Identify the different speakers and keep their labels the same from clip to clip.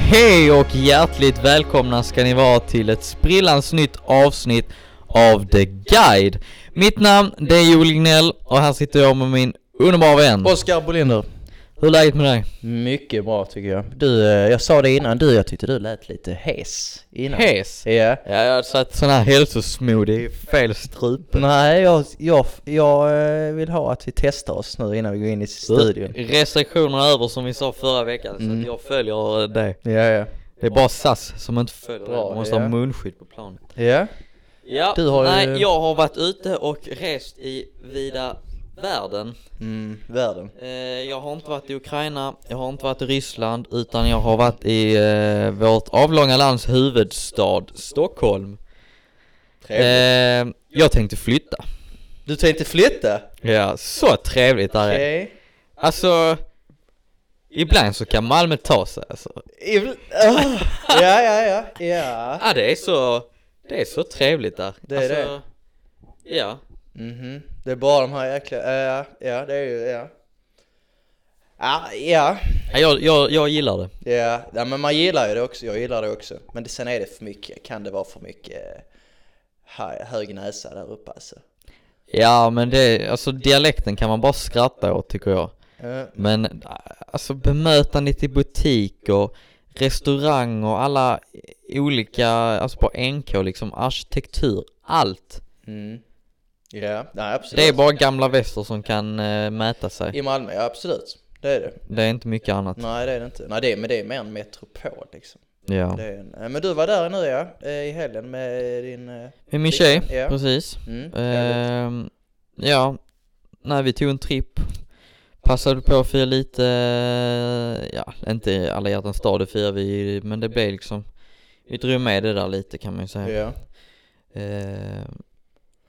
Speaker 1: Hej och hjärtligt välkomna ska ni vara till ett sprillans nytt avsnitt av The Guide. Mitt namn det är Joel Lignell och här sitter jag med min underbara vän.
Speaker 2: Oskar Bolinder.
Speaker 1: Hur är läget med dig?
Speaker 2: Mycket bra tycker jag. Du, eh, jag sa det innan, du, jag tyckte du lät lite hes innan.
Speaker 1: Hes?
Speaker 2: Ja.
Speaker 1: Ja, jag har satt sån här hälsosmoothie i fel strupe.
Speaker 2: Nej, jag, jag, jag eh, vill ha att vi testar oss nu innan vi går in i studion.
Speaker 1: Restriktionerna är över som vi sa förra veckan, så att jag följer eh, det.
Speaker 2: Ja, ja.
Speaker 1: Det är bara SAS som inte följer det.
Speaker 2: Bra,
Speaker 1: Man måste
Speaker 2: ja.
Speaker 1: ha munskydd på planet.
Speaker 2: Ja.
Speaker 1: Ja,
Speaker 2: Du har ju-
Speaker 1: nej, jag har varit ute och rest i vida världen.
Speaker 2: Mm, världen.
Speaker 1: Eh, jag har inte varit i Ukraina, jag har inte varit i Ryssland, utan jag har varit i eh, vårt avlånga lands huvudstad, Stockholm. Eh, jag tänkte flytta.
Speaker 2: Du tänkte flytta?
Speaker 1: Ja, så trevligt där är.
Speaker 2: Okej.
Speaker 1: Alltså, ibland så kan Malmö ta sig alltså.
Speaker 2: Ibl- ah. Ja, ja, ja. Ja.
Speaker 1: Ja, det är så, det är så trevligt där.
Speaker 2: Det är
Speaker 1: alltså, det. Ja.
Speaker 2: Mhm. Det är bara de här jäkla... Ja, ja, det är ju... Ja. Ja, ja.
Speaker 1: Ja, Jag, jag, jag gillar det.
Speaker 2: Ja, ja, men man gillar ju det också. Jag gillar det också. Men det, sen är det för mycket. Kan det vara för mycket eh, hö- hög näsa där uppe alltså?
Speaker 1: Ja, men det, alltså dialekten kan man bara skratta åt tycker jag.
Speaker 2: Eh,
Speaker 1: Men äh, alltså bemötandet i butik och restaurang och alla olika, alltså på NK liksom, arkitektur, allt.
Speaker 2: Mm. Ja, nej absolut.
Speaker 1: Det är bara gamla väster som kan eh, mäta sig.
Speaker 2: I Malmö, ja absolut. Det är det.
Speaker 1: Det är inte mycket annat.
Speaker 2: Nej, det är det inte. Nej, det är, men det är mer en metropol liksom.
Speaker 1: Ja.
Speaker 2: Det är en, eh, men du var där nu ja, eh, i helgen med din... eh,
Speaker 1: Med min tjej,
Speaker 2: Ja.
Speaker 1: precis.
Speaker 2: Mm, trevligt.
Speaker 1: Ehm, ja, nej vi tog en tripp. Passade på att fira lite, eh, ja inte alla hjärtans dag det firar vi men det blev liksom, vi drog med det där lite kan man ju säga.
Speaker 2: ja.
Speaker 1: Eh,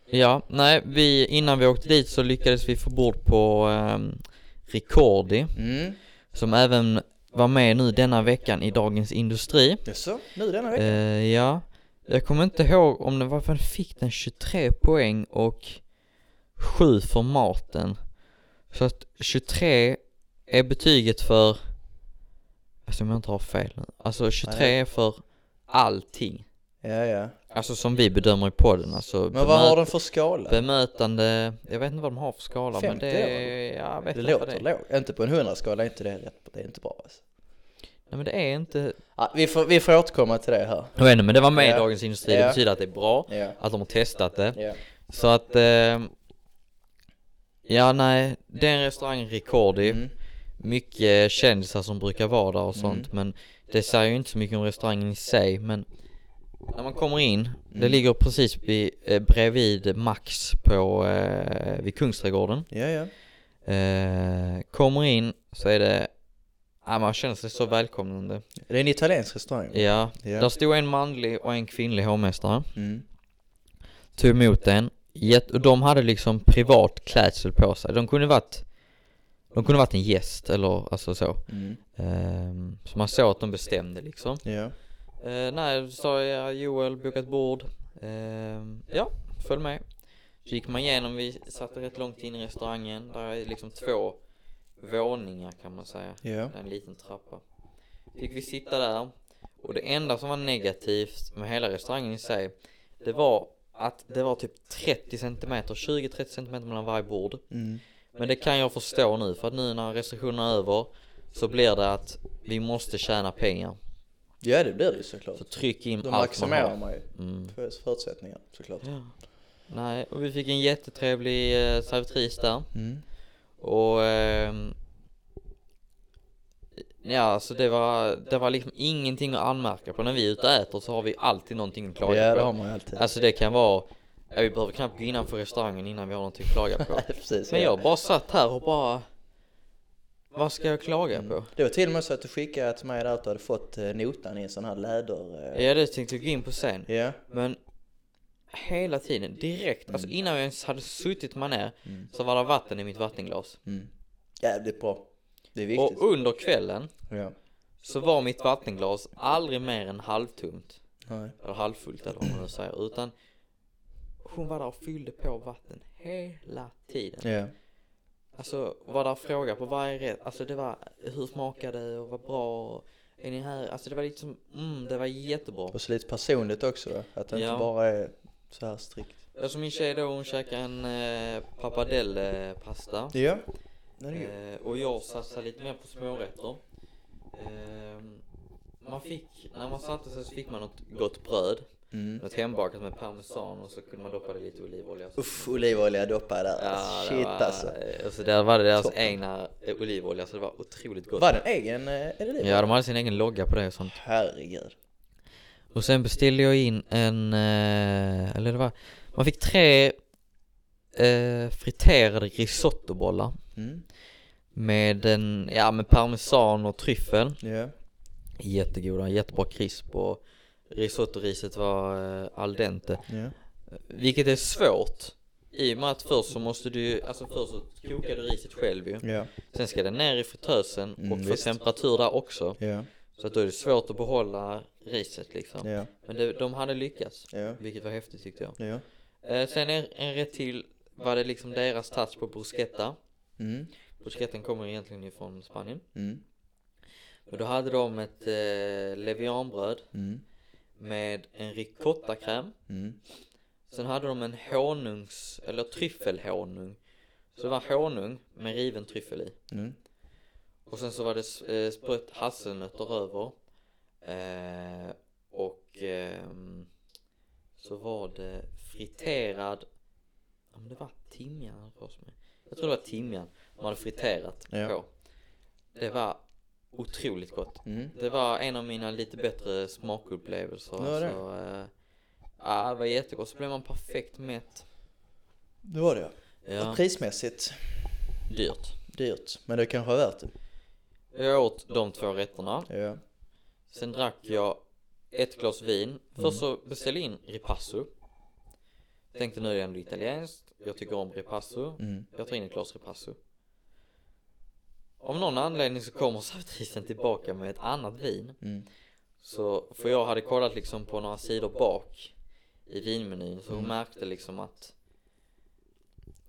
Speaker 1: ja, nej, vi, innan vi åkte dit så lyckades vi få bord på ehm, Ricordi,
Speaker 2: Mm.
Speaker 1: som även var med nu denna veckan i Dagens Industri.
Speaker 2: Jaså, nu denna vecka?
Speaker 1: Eh, ja, jag kommer inte ihåg om det var, för han fick den 23 poäng och 7 för maten. Så att 23 är betyget för, alltså om jag inte har fel nu, alltså 23 är för allting.
Speaker 2: Ja, ja.
Speaker 1: Alltså som vi bedömer i podden, alltså
Speaker 2: Men vad
Speaker 1: bemöt-
Speaker 2: har den för skala?
Speaker 1: Bemötande, jag vet inte vad de har för skala men det
Speaker 2: Femtio
Speaker 1: är, ja, jag vet
Speaker 2: det
Speaker 1: inte vad
Speaker 2: låter
Speaker 1: det är.
Speaker 2: lågt. Inte på en hundraskala, är inte det rätt. Det är inte bra alltså.
Speaker 1: Nej men det är inte,
Speaker 2: Ja, vi, får, vi får återkomma till det här.
Speaker 1: jag vet inte men det var med
Speaker 2: Ja.
Speaker 1: i Dagens Industri, det
Speaker 2: Ja.
Speaker 1: betyder att det är bra,
Speaker 2: Ja.
Speaker 1: att de har testat det.
Speaker 2: Ja.
Speaker 1: Så att, eh, ja nej, det är en restaurang Ricordi,
Speaker 2: Mm.
Speaker 1: mycket kändisar som brukar vara där och sånt men det säger ju inte så mycket om restaurangen i sig men när man kommer in,
Speaker 2: Mm.
Speaker 1: det ligger precis vid, eh, bredvid Max på, eh, vid Kungsträdgården.
Speaker 2: Ja, ja.
Speaker 1: Eh, kommer in så är det, ja man känner sig så välkomnande.
Speaker 2: Det är en italiensk restaurang.
Speaker 1: Ja,
Speaker 2: Ja.
Speaker 1: där stod en manlig och en kvinnlig hovmästare.
Speaker 2: Mm.
Speaker 1: Tog emot den. Gett, och de hade liksom privat klädsel på sig. De kunde varit, de kunde varit en gäst eller alltså så.
Speaker 2: Mm.
Speaker 1: Ehm, så man såg att de bestämde liksom.
Speaker 2: Ja.
Speaker 1: Eh, nej, så sa jag Joel, boka ett bord. Ehm, ja, följ med. Så gick man igenom, vi satt rätt långt in i restaurangen. Där är liksom två våningar kan man säga.
Speaker 2: Ja.
Speaker 1: En liten trappa. Fick vi sitta där. Och det enda som var negativt med hela restaurangen i sig. Det var att det var typ 30 centimeter, 20-30 centimeter mellan varje bord.
Speaker 2: Mm.
Speaker 1: Men det kan jag förstå nu för att nu när restriktionerna är över. Så blir det att vi måste tjäna pengar.
Speaker 2: Ja, det blir det ju såklart.
Speaker 1: Så tryck in
Speaker 2: Då
Speaker 1: allt man
Speaker 2: maximerar
Speaker 1: har.
Speaker 2: man ju
Speaker 1: Mm.
Speaker 2: för- förutsättningar såklart.
Speaker 1: Nej, och vi fick en jättetrevlig eh, servitris där.
Speaker 2: Mm.
Speaker 1: Och... ehm, ja, alltså det var, det var liksom ingenting att anmärka på. När vi är ute och äter så har vi alltid någonting att klaga
Speaker 2: Ja, det
Speaker 1: på.
Speaker 2: har man ju alltid.
Speaker 1: Alltså det kan vara... Ja, vi behöver knappt gå innanför restaurangen innan vi har någonting att klaga på.
Speaker 2: Precis.
Speaker 1: Men
Speaker 2: ja.
Speaker 1: jag bara satt här och bara... Vad ska jag klaga på?
Speaker 2: Mm. Det var till och med så att du skickade till mig där att du hade fått eh, notan i en sån här läder... eh,
Speaker 1: Ja, det tänkte jag gå in på sen.
Speaker 2: Ja.
Speaker 1: Men hela tiden, direkt, alltså
Speaker 2: Mm.
Speaker 1: innan jag ens hade suttit mig ner så var det vatten i mitt vattenglas.
Speaker 2: Mm. Jävligt bra. Det är viktigt.
Speaker 1: Och under kvällen
Speaker 2: Ja.
Speaker 1: så var mitt vattenglas aldrig mer än halvtomt.
Speaker 2: Nej.
Speaker 1: Eller halvfullt eller vad man nu säger. Utan hon var där och fyllde på vatten hela tiden.
Speaker 2: Ja.
Speaker 1: Alltså var där fråga på varje rätt. Alltså det var hur smakade det och vad bra. och är ni här? Alltså det var liksom, mm, det var jättebra.
Speaker 2: Och så lite personligt också då, att det
Speaker 1: Ja.
Speaker 2: inte bara är så här strikt.
Speaker 1: Alltså min tjej då, hon käkade en eh, pappardelle-pasta.
Speaker 2: Ja. Den är god.
Speaker 1: Eh, och jag satsade lite mer på smårätter. Ehm, man fick, när man satte sig så fick man något gott bröd.
Speaker 2: Mm.
Speaker 1: Något hembakat med parmesan och så kunde man doppa det i lite olivolja.
Speaker 2: Uff, olivolja doppade där.
Speaker 1: Ja, det
Speaker 2: Shit
Speaker 1: var,
Speaker 2: alltså.
Speaker 1: alltså. Där var det deras
Speaker 2: Toppen.
Speaker 1: egna eh, olivolja så det var otroligt gott.
Speaker 2: Var den egen, eh, är det det?
Speaker 1: Ja, de hade sin egen logga på det och sånt.
Speaker 2: Herregud.
Speaker 1: Och sen beställde jag in en, eh, eller det var, man fick tre eh, friterade risottobollar.
Speaker 2: Mm.
Speaker 1: Med en, ja med parmesan och tryffel.
Speaker 2: Ja.
Speaker 1: Jättegoda, jättebra krisp och risottoriset var eh, al dente.
Speaker 2: ja.
Speaker 1: Vilket är svårt. I och med att först så måste du ju- alltså först så kokar du riset själv ju.
Speaker 2: Ja.
Speaker 1: Sen ska det ner i fritösen
Speaker 2: Mm,
Speaker 1: och få
Speaker 2: visst.
Speaker 1: temperatur där också.
Speaker 2: Ja.
Speaker 1: Så att då är det svårt att behålla riset liksom.
Speaker 2: Ja.
Speaker 1: Men det, de hade lyckats.
Speaker 2: Ja.
Speaker 1: Vilket var häftigt tyckte jag.
Speaker 2: Ja.
Speaker 1: Eh, sen en, en rätt till var det liksom deras touch på bruschetta.
Speaker 2: Mm.
Speaker 1: Bruschetten kommer egentligen ifrån Spanien.
Speaker 2: Mm.
Speaker 1: Och då hade de ett eh, levianbröd
Speaker 2: Mm.
Speaker 1: med en ricottakräm.
Speaker 2: Mm.
Speaker 1: Sen hade de en honungs, eller tryffelhonung. Så det var honung med riven tryffel i.
Speaker 2: Mm.
Speaker 1: Och sen så var det s- eh, sprött hasselnötter över. Eh, och ehm, så var det friterad, ja men det var timjan hade på mig. Jag tror det var timjan man hade friterat
Speaker 2: Ja.
Speaker 1: på. Det var otroligt gott.
Speaker 2: Mm.
Speaker 1: Det var en av mina lite bättre smakupplevelser.
Speaker 2: Det var det.
Speaker 1: Alltså, eh, ja, det var jättegott. Så blev man perfekt mätt.
Speaker 2: Det var det ja.
Speaker 1: Ja,
Speaker 2: Och prismässigt
Speaker 1: dyrt.
Speaker 2: dyrt. Men det kanske var värt det.
Speaker 1: Jag åt de två rätterna.
Speaker 2: Ja.
Speaker 1: Sen drack jag ett glas vin. Först så beställde jag in ripasso. Tänkte nu är det ändå italienskt. Jag tycker om ripasso.
Speaker 2: Mm.
Speaker 1: Jag tar in ett glas ripasso. Av någon anledning så kommer servitrisen tillbaka med ett annat vin.
Speaker 2: Mm.
Speaker 1: Så, för jag hade kollat liksom på några sidor bak i vinmenyn så hon märkte liksom att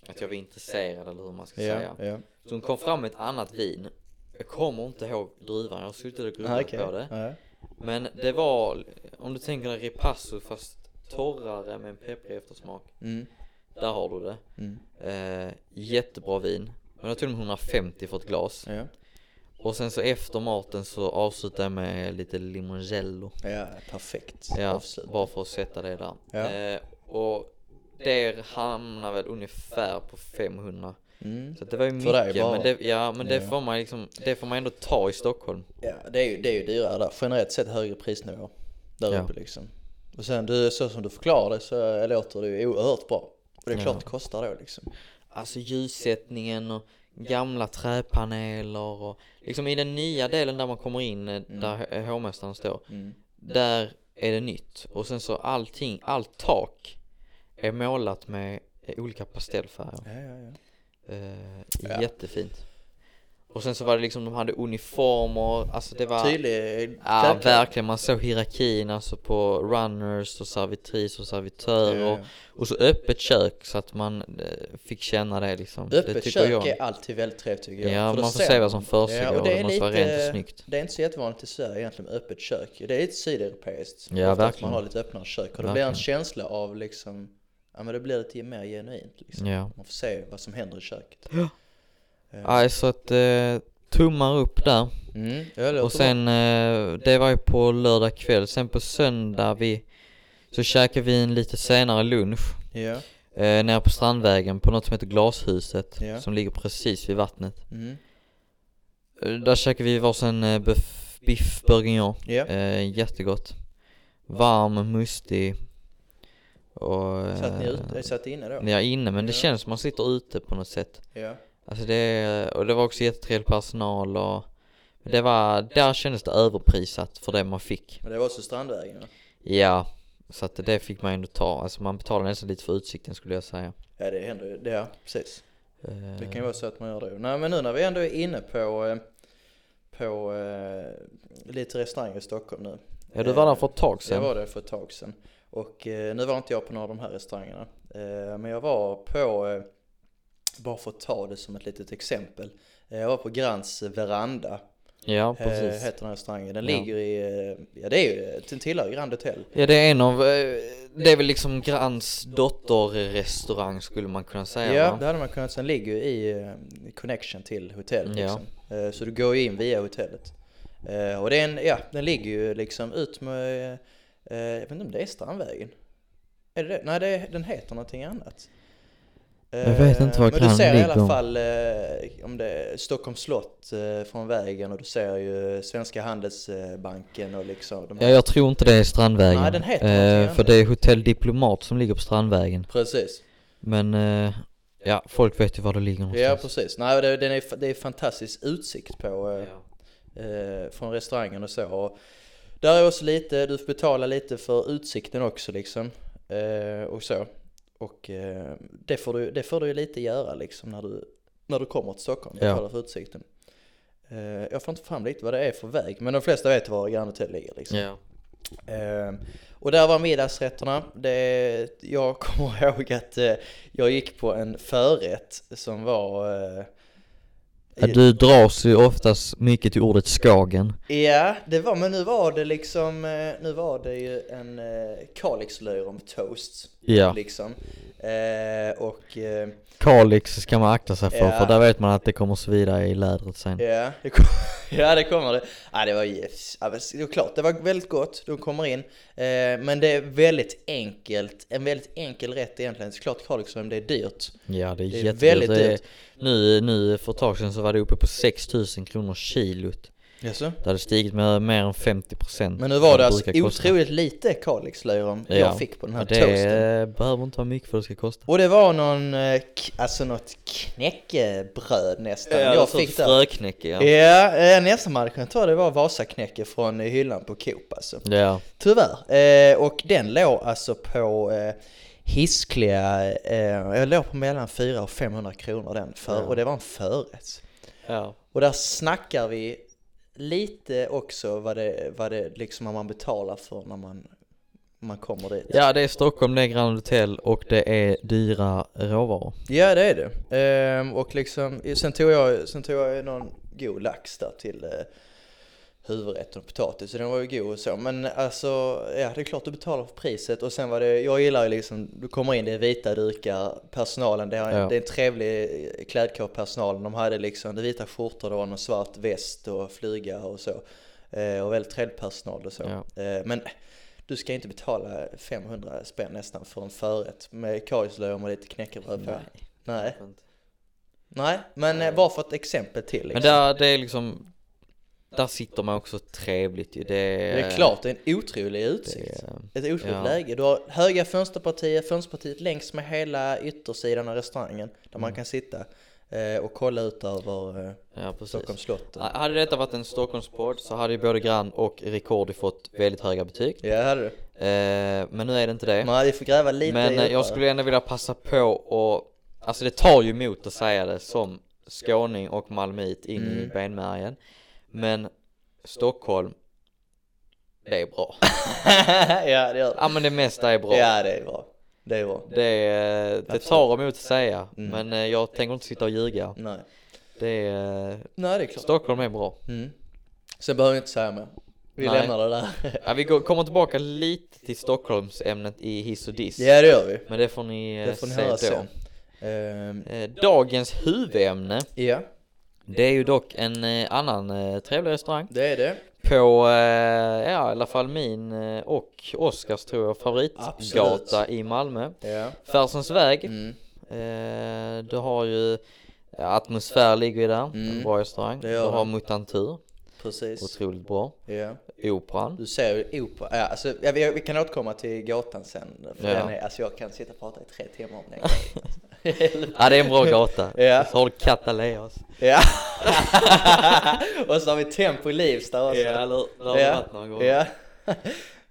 Speaker 1: att jag var intresserad eller hur man ska
Speaker 2: Ja.
Speaker 1: säga.
Speaker 2: Ja.
Speaker 1: Så hon kom fram med ett annat vin. Jag kommer inte ihåg druvan, jag har suttit och
Speaker 2: Ah,
Speaker 1: grubblat
Speaker 2: okej.
Speaker 1: på det.
Speaker 2: Ja.
Speaker 1: Men det var, om du tänker dig ripasso fast torrare med en pepprig eftersmak.
Speaker 2: Mm.
Speaker 1: Där har du det.
Speaker 2: Mm.
Speaker 1: Eh, jättebra vin. Men jag tog de 150 för ett glas.
Speaker 2: Ja.
Speaker 1: Och sen så efter maten så avslutade jag med lite limoncello.
Speaker 2: Ja. Perfekt
Speaker 1: Ja,
Speaker 2: avslut.
Speaker 1: bara för att sätta det där.
Speaker 2: Ja.
Speaker 1: Eh, och där hamnar väl ungefär på 500.
Speaker 2: Mm.
Speaker 1: Så det var ju
Speaker 2: För dig
Speaker 1: mycket.
Speaker 2: bara.
Speaker 1: men det, ja, men det
Speaker 2: Ja.
Speaker 1: får man liksom, det får man ändå ta i Stockholm.
Speaker 2: Ja, det är ju, det är ju dyrare där. Generellt sett högre prisnivå där
Speaker 1: Ja.
Speaker 2: uppe liksom. Och sen du, så som du förklarar det så låter det ju oerhört bra. Och det är
Speaker 1: Ja.
Speaker 2: klart det kostar då liksom.
Speaker 1: Alltså ljussättningen och gamla träpaneler och liksom i den nya delen där man kommer in, eh, där eh, hovmästaren står.
Speaker 2: Mm.
Speaker 1: Där är det nytt. Och sen så allting, allt tak är målat med eh, olika pastellfärger.
Speaker 2: Ja, ja, ja.
Speaker 1: Eh,
Speaker 2: Ja.
Speaker 1: Jättefint. Och sen så var det liksom, de hade uniformer, alltså det var...
Speaker 2: Tydlig
Speaker 1: Ja,
Speaker 2: klädkod.
Speaker 1: verkligen. Man såg hierarkin alltså på runners och servitris och servitörer.
Speaker 2: Ja, ja.
Speaker 1: Och så öppet kök så att man eh, fick känna det liksom. det
Speaker 2: Öppet
Speaker 1: tycker
Speaker 2: kök
Speaker 1: jag.
Speaker 2: är alltid väldigt trevligt tycker jag.
Speaker 1: Ja,
Speaker 2: För då
Speaker 1: man får
Speaker 2: ser
Speaker 1: se vad som försiggår.
Speaker 2: Ja, och
Speaker 1: det,
Speaker 2: det är
Speaker 1: måste vara
Speaker 2: lite-
Speaker 1: rent och snyggt.
Speaker 2: Det är inte så jättevanligt i Sverige egentligen med öppet kök. Det är lite sydeuropeiskt.
Speaker 1: Ja,
Speaker 2: Ofta att
Speaker 1: verkligen.
Speaker 2: Man har lite öppnare kök och det blir
Speaker 1: Verkligen.
Speaker 2: en känsla av liksom, ja men det blir lite mer genuint liksom.
Speaker 1: Ja.
Speaker 2: Man får se vad som händer i köket.
Speaker 1: Nej, så att eh, tummar upp där.
Speaker 2: Mm, ja, det låter
Speaker 1: Och sen, eh, det var ju på lördag kväll. Sen på söndag vi, så käkade vi en lite senare lunch.
Speaker 2: bra. Ja.
Speaker 1: Eh, nere på Strandvägen på något som heter Glashuset
Speaker 2: Ja.
Speaker 1: som ligger precis vid vattnet.
Speaker 2: Mm.
Speaker 1: Eh, där käkade vi varsin eh, buff, biff bourguignon.
Speaker 2: Ja.
Speaker 1: Eh, jättegott. Varm, mustig. Och, eh,
Speaker 2: Satt ni ute, satt inne då?
Speaker 1: Ja, inne men det
Speaker 2: Ja.
Speaker 1: känns som man sitter ute på något sätt.
Speaker 2: Ja.
Speaker 1: Alltså det, är- och det var också jättetrevlig personal och det var, där kändes det överprisat för det man fick.
Speaker 2: Men det var också Strandvägen va?
Speaker 1: Ja, så att det fick man ändå ta. Alltså man betalade nästan lite för utsikten skulle jag säga.
Speaker 2: Ja det händer ju, det- ja precis.
Speaker 1: Eh,
Speaker 2: Det kan ju vara så att man gör det. Nej men nu när vi ändå är inne på, eh, på eh, lite restauranger i Stockholm nu.
Speaker 1: ja, du var där för ett tag
Speaker 2: Jag
Speaker 1: sedan.
Speaker 2: var det för ett tag sedan. Och eh, nu var inte jag på några av de här restaurangerna. Eh, men jag var på, eh, bara för att ta det som ett litet exempel. Eh, jag var på Grants veranda.
Speaker 1: Ja,
Speaker 2: eh,
Speaker 1: precis.
Speaker 2: heter den här restaurangen. Den
Speaker 1: Ja.
Speaker 2: ligger i, eh, ja det är ju, den tillhör Grand Hotel.
Speaker 1: Ja, det är en av, eh, det är väl liksom Grands dotterrestaurang skulle man kunna säga
Speaker 2: Ja,
Speaker 1: va?
Speaker 2: det hade man kunnat. Den ligger ju i eh, connection till hotellet.
Speaker 1: Ja.
Speaker 2: Liksom. Eh, Så du går ju in via hotellet. Eh, Och den, ja, den ligger ju liksom ut med, eh, jag vet inte om det är Strandvägen? Är det det? Nej, det, är- den heter någonting annat.
Speaker 1: Jag vet inte var
Speaker 2: Eh, Men du
Speaker 1: Grand
Speaker 2: ser i alla
Speaker 1: ligger.
Speaker 2: fall eh, om det är Stockholms slott eh, från vägen och du ser ju Svenska Handelsbanken och liksom de
Speaker 1: Ja,
Speaker 2: här.
Speaker 1: jag tror inte det är Strandvägen.
Speaker 2: Nej, den heter
Speaker 1: eh, För
Speaker 2: någonting annat.
Speaker 1: det är Hotell Diplomat som ligger på Strandvägen.
Speaker 2: Precis.
Speaker 1: Men, eh, ja, folk vet ju var det ligger någonstans.
Speaker 2: Ja, precis. Nej, det, den är, det är fantastisk utsikt på eh,
Speaker 1: Ja.
Speaker 2: eh, från restaurangen och så. Och där är också lite, du får betala lite för utsikten också liksom. Eh, och så. Och eh, det, får du, det får du ju lite göra liksom när du, när du kommer till Stockholm.
Speaker 1: Ja.
Speaker 2: Betala för utsikten. Eh, jag får inte fram riktigt vad det är för väg. Men de flesta vet var Grand Hotel ligger liksom.
Speaker 1: Ja.
Speaker 2: Ehm, och där var middagsrätterna. Det, jag kommer ihåg att eh, jag gick på en förrätt som var... Eh,
Speaker 1: Ja, Du dras ju oftast mycket till ordet Skagen.
Speaker 2: Ja, det var, men nu var det liksom, eh, nu var det ju en eh, Kalixlöjrom toast.
Speaker 1: Ja.
Speaker 2: Liksom. Eh, och eh,
Speaker 1: Kalix ska man akta sig för,
Speaker 2: Ja.
Speaker 1: för där vet man att det kommer svida i lädret sen.
Speaker 2: ja, det kom, ja, det kommer det. Ja, det var ju, ja, men det var klart, det var väldigt gott. De kommer in. Eh, men det är väldigt enkelt, en väldigt enkel rätt egentligen. Såklart Kalixlöjrom, det är dyrt.
Speaker 1: Ja, det är,
Speaker 2: Det är
Speaker 1: jättedyrt.
Speaker 2: väldigt
Speaker 1: Det är-
Speaker 2: dyrt.
Speaker 1: Nu, nu för ett tag sedan så var det uppe på 6000 kronor kilot.
Speaker 2: Jaså?
Speaker 1: Det hade stigit med mer än 50 procent.
Speaker 2: Men nu var det alltså otroligt lite Kalixlöjrom jag fick på den här
Speaker 1: det
Speaker 2: toasten.
Speaker 1: behöver inte vara mycket för att det ska kosta.
Speaker 2: Och det var någon, eh, k- alltså något knäckebröd nästan jag fick där.
Speaker 1: fröknäcke ja.
Speaker 2: Ja, eh, nästan man hade kunnat ta det var Vasaknäcke från eh, hyllan på Coop alltså.
Speaker 1: Ja,
Speaker 2: Tyvärr. Eh, och den låg alltså på eh, hiskliga, eh, jag låg på mellan 400 och 500 kronor den för,
Speaker 1: Ja.
Speaker 2: och det var en förrätt.
Speaker 1: ja.
Speaker 2: Och där snackar vi lite också vad det, vad det liksom vad man betalar för när man, man kommer dit.
Speaker 1: ja, det är Stockholm, det är Grand Hotel och det är dyra råvaror.
Speaker 2: Ja det är det. Ehm, och liksom, sen tog jag, sen tog jag någon god lax där till eh, huvudrätten och potatis. Så den var ju god och så. Men alltså, ja det är klart du betalar för priset. Och sen var det, jag gillar ju liksom, du kommer in, det är vita dukar, personalen, det, har,
Speaker 1: Ja.
Speaker 2: det är en trevlig eh, klädkår personalen. De hade liksom, det är vita skjortor, det var någon svart väst och flyga och så. Eh, och väldigt trevlig personal och så.
Speaker 1: Ja.
Speaker 2: Eh, men du ska inte betala 500 spänn nästan för en förrätt med karislöv och lite knäckebröd på. Nej, nej, men eh, bara för ett exempel till. Liksom.
Speaker 1: Men där, det är liksom, där sitter man också trevligt ju. Det är,
Speaker 2: det är klart, det är en otrolig
Speaker 1: det
Speaker 2: utsikt.
Speaker 1: är-
Speaker 2: Ett otroligt
Speaker 1: ja.
Speaker 2: läge. Du har höga fönsterpartier, fönsterpartiet längs med hela yttersidan av restaurangen där man kan sitta eh, och kolla ut över eh,
Speaker 1: ja, Mm. precis.
Speaker 2: Stockholms slott.
Speaker 1: Ja, Hade detta varit en Stockholmspodd så hade ju både Grand och Rekordi fått väldigt höga betyg.
Speaker 2: Ja, det hade du.
Speaker 1: Eh, men nu är det inte det.
Speaker 2: Man hade ju fått gräva lite
Speaker 1: Men eh,
Speaker 2: djupare.
Speaker 1: jag skulle ändå vilja passa på och, alltså det tar ju emot att säga det som skåning och malmöit in i
Speaker 2: Mm.
Speaker 1: benmärgen. Men Stockholm, det är bra.
Speaker 2: ja, det gör det.
Speaker 1: Ja men det mesta är bra.
Speaker 2: Ja, det är bra. Det är bra.
Speaker 1: Det, eh, det tar emot att säga,
Speaker 2: Mm.
Speaker 1: men eh, jag tänker inte sitta och ljuga.
Speaker 2: Nej,
Speaker 1: Det är, eh,
Speaker 2: Nej det är klart.
Speaker 1: Stockholm är bra.
Speaker 2: Mm. Sen behöver jag inte säga mer. Vi
Speaker 1: Nej.
Speaker 2: lämnar det där.
Speaker 1: Ja, vi går, kommer tillbaka lite till Stockholmsämnet i hiss och diss.
Speaker 2: ja, det gör vi.
Speaker 1: Men det får ni, eh,
Speaker 2: Det får ni
Speaker 1: se
Speaker 2: höra
Speaker 1: då.
Speaker 2: sen. Ehm,
Speaker 1: Eh, Dagens huvudämne,
Speaker 2: ja,
Speaker 1: det är ju dock en eh, annan eh, trevlig restaurang.
Speaker 2: det är det.
Speaker 1: På, eh, ja i alla fall min eh, och Oskars tror jag, favoritgata
Speaker 2: Absolut.
Speaker 1: i Malmö.
Speaker 2: Ja.
Speaker 1: Färsens väg,
Speaker 2: Mm,
Speaker 1: eh, du har ju ja, Atmosfär ligger ju där, en
Speaker 2: Mm.
Speaker 1: bra restaurang.
Speaker 2: Det
Speaker 1: Du
Speaker 2: gör det.
Speaker 1: har Mutantur,
Speaker 2: precis.
Speaker 1: otroligt bra.
Speaker 2: Ja.
Speaker 1: Operan.
Speaker 2: Du ser ju opera. Ja, alltså, ja, vi, vi kan återkomma till gatan sen. För
Speaker 1: Ja.
Speaker 2: den är, alltså, jag kan sitta och prata i tre timmar om den. gatan.
Speaker 1: Ja det är en bra gata.
Speaker 2: Ja.
Speaker 1: Så har du Kataleas.
Speaker 2: ja. och så har vi Tempo Livs där också.
Speaker 1: eller Det har
Speaker 2: ja.
Speaker 1: varit någon gång.
Speaker 2: ja.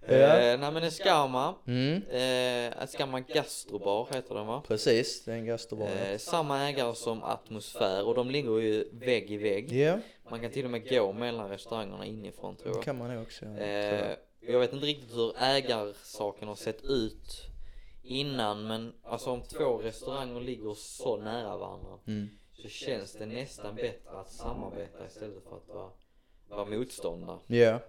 Speaker 2: ja.
Speaker 1: Eh, nej men en Skarma,
Speaker 2: Mm.
Speaker 1: eh, en Skarma Gastrobar heter den va?
Speaker 2: Precis, det är en gastrobar. ja.
Speaker 1: Eh, samma ägare som Atmosfär och de ligger ju vägg i vägg.
Speaker 2: Ja,
Speaker 1: Man kan till och med gå mellan restaurangerna inifrån tror
Speaker 2: det
Speaker 1: jag.
Speaker 2: kan man nog också. göra, tror jag.
Speaker 1: Eh, jag vet inte riktigt hur ägarsaken har sett ut innan men alltså om två restauranger ligger så nära varandra
Speaker 2: Mm.
Speaker 1: så känns det nästan bättre att samarbeta istället för att vara, var motståndare,
Speaker 2: Ja.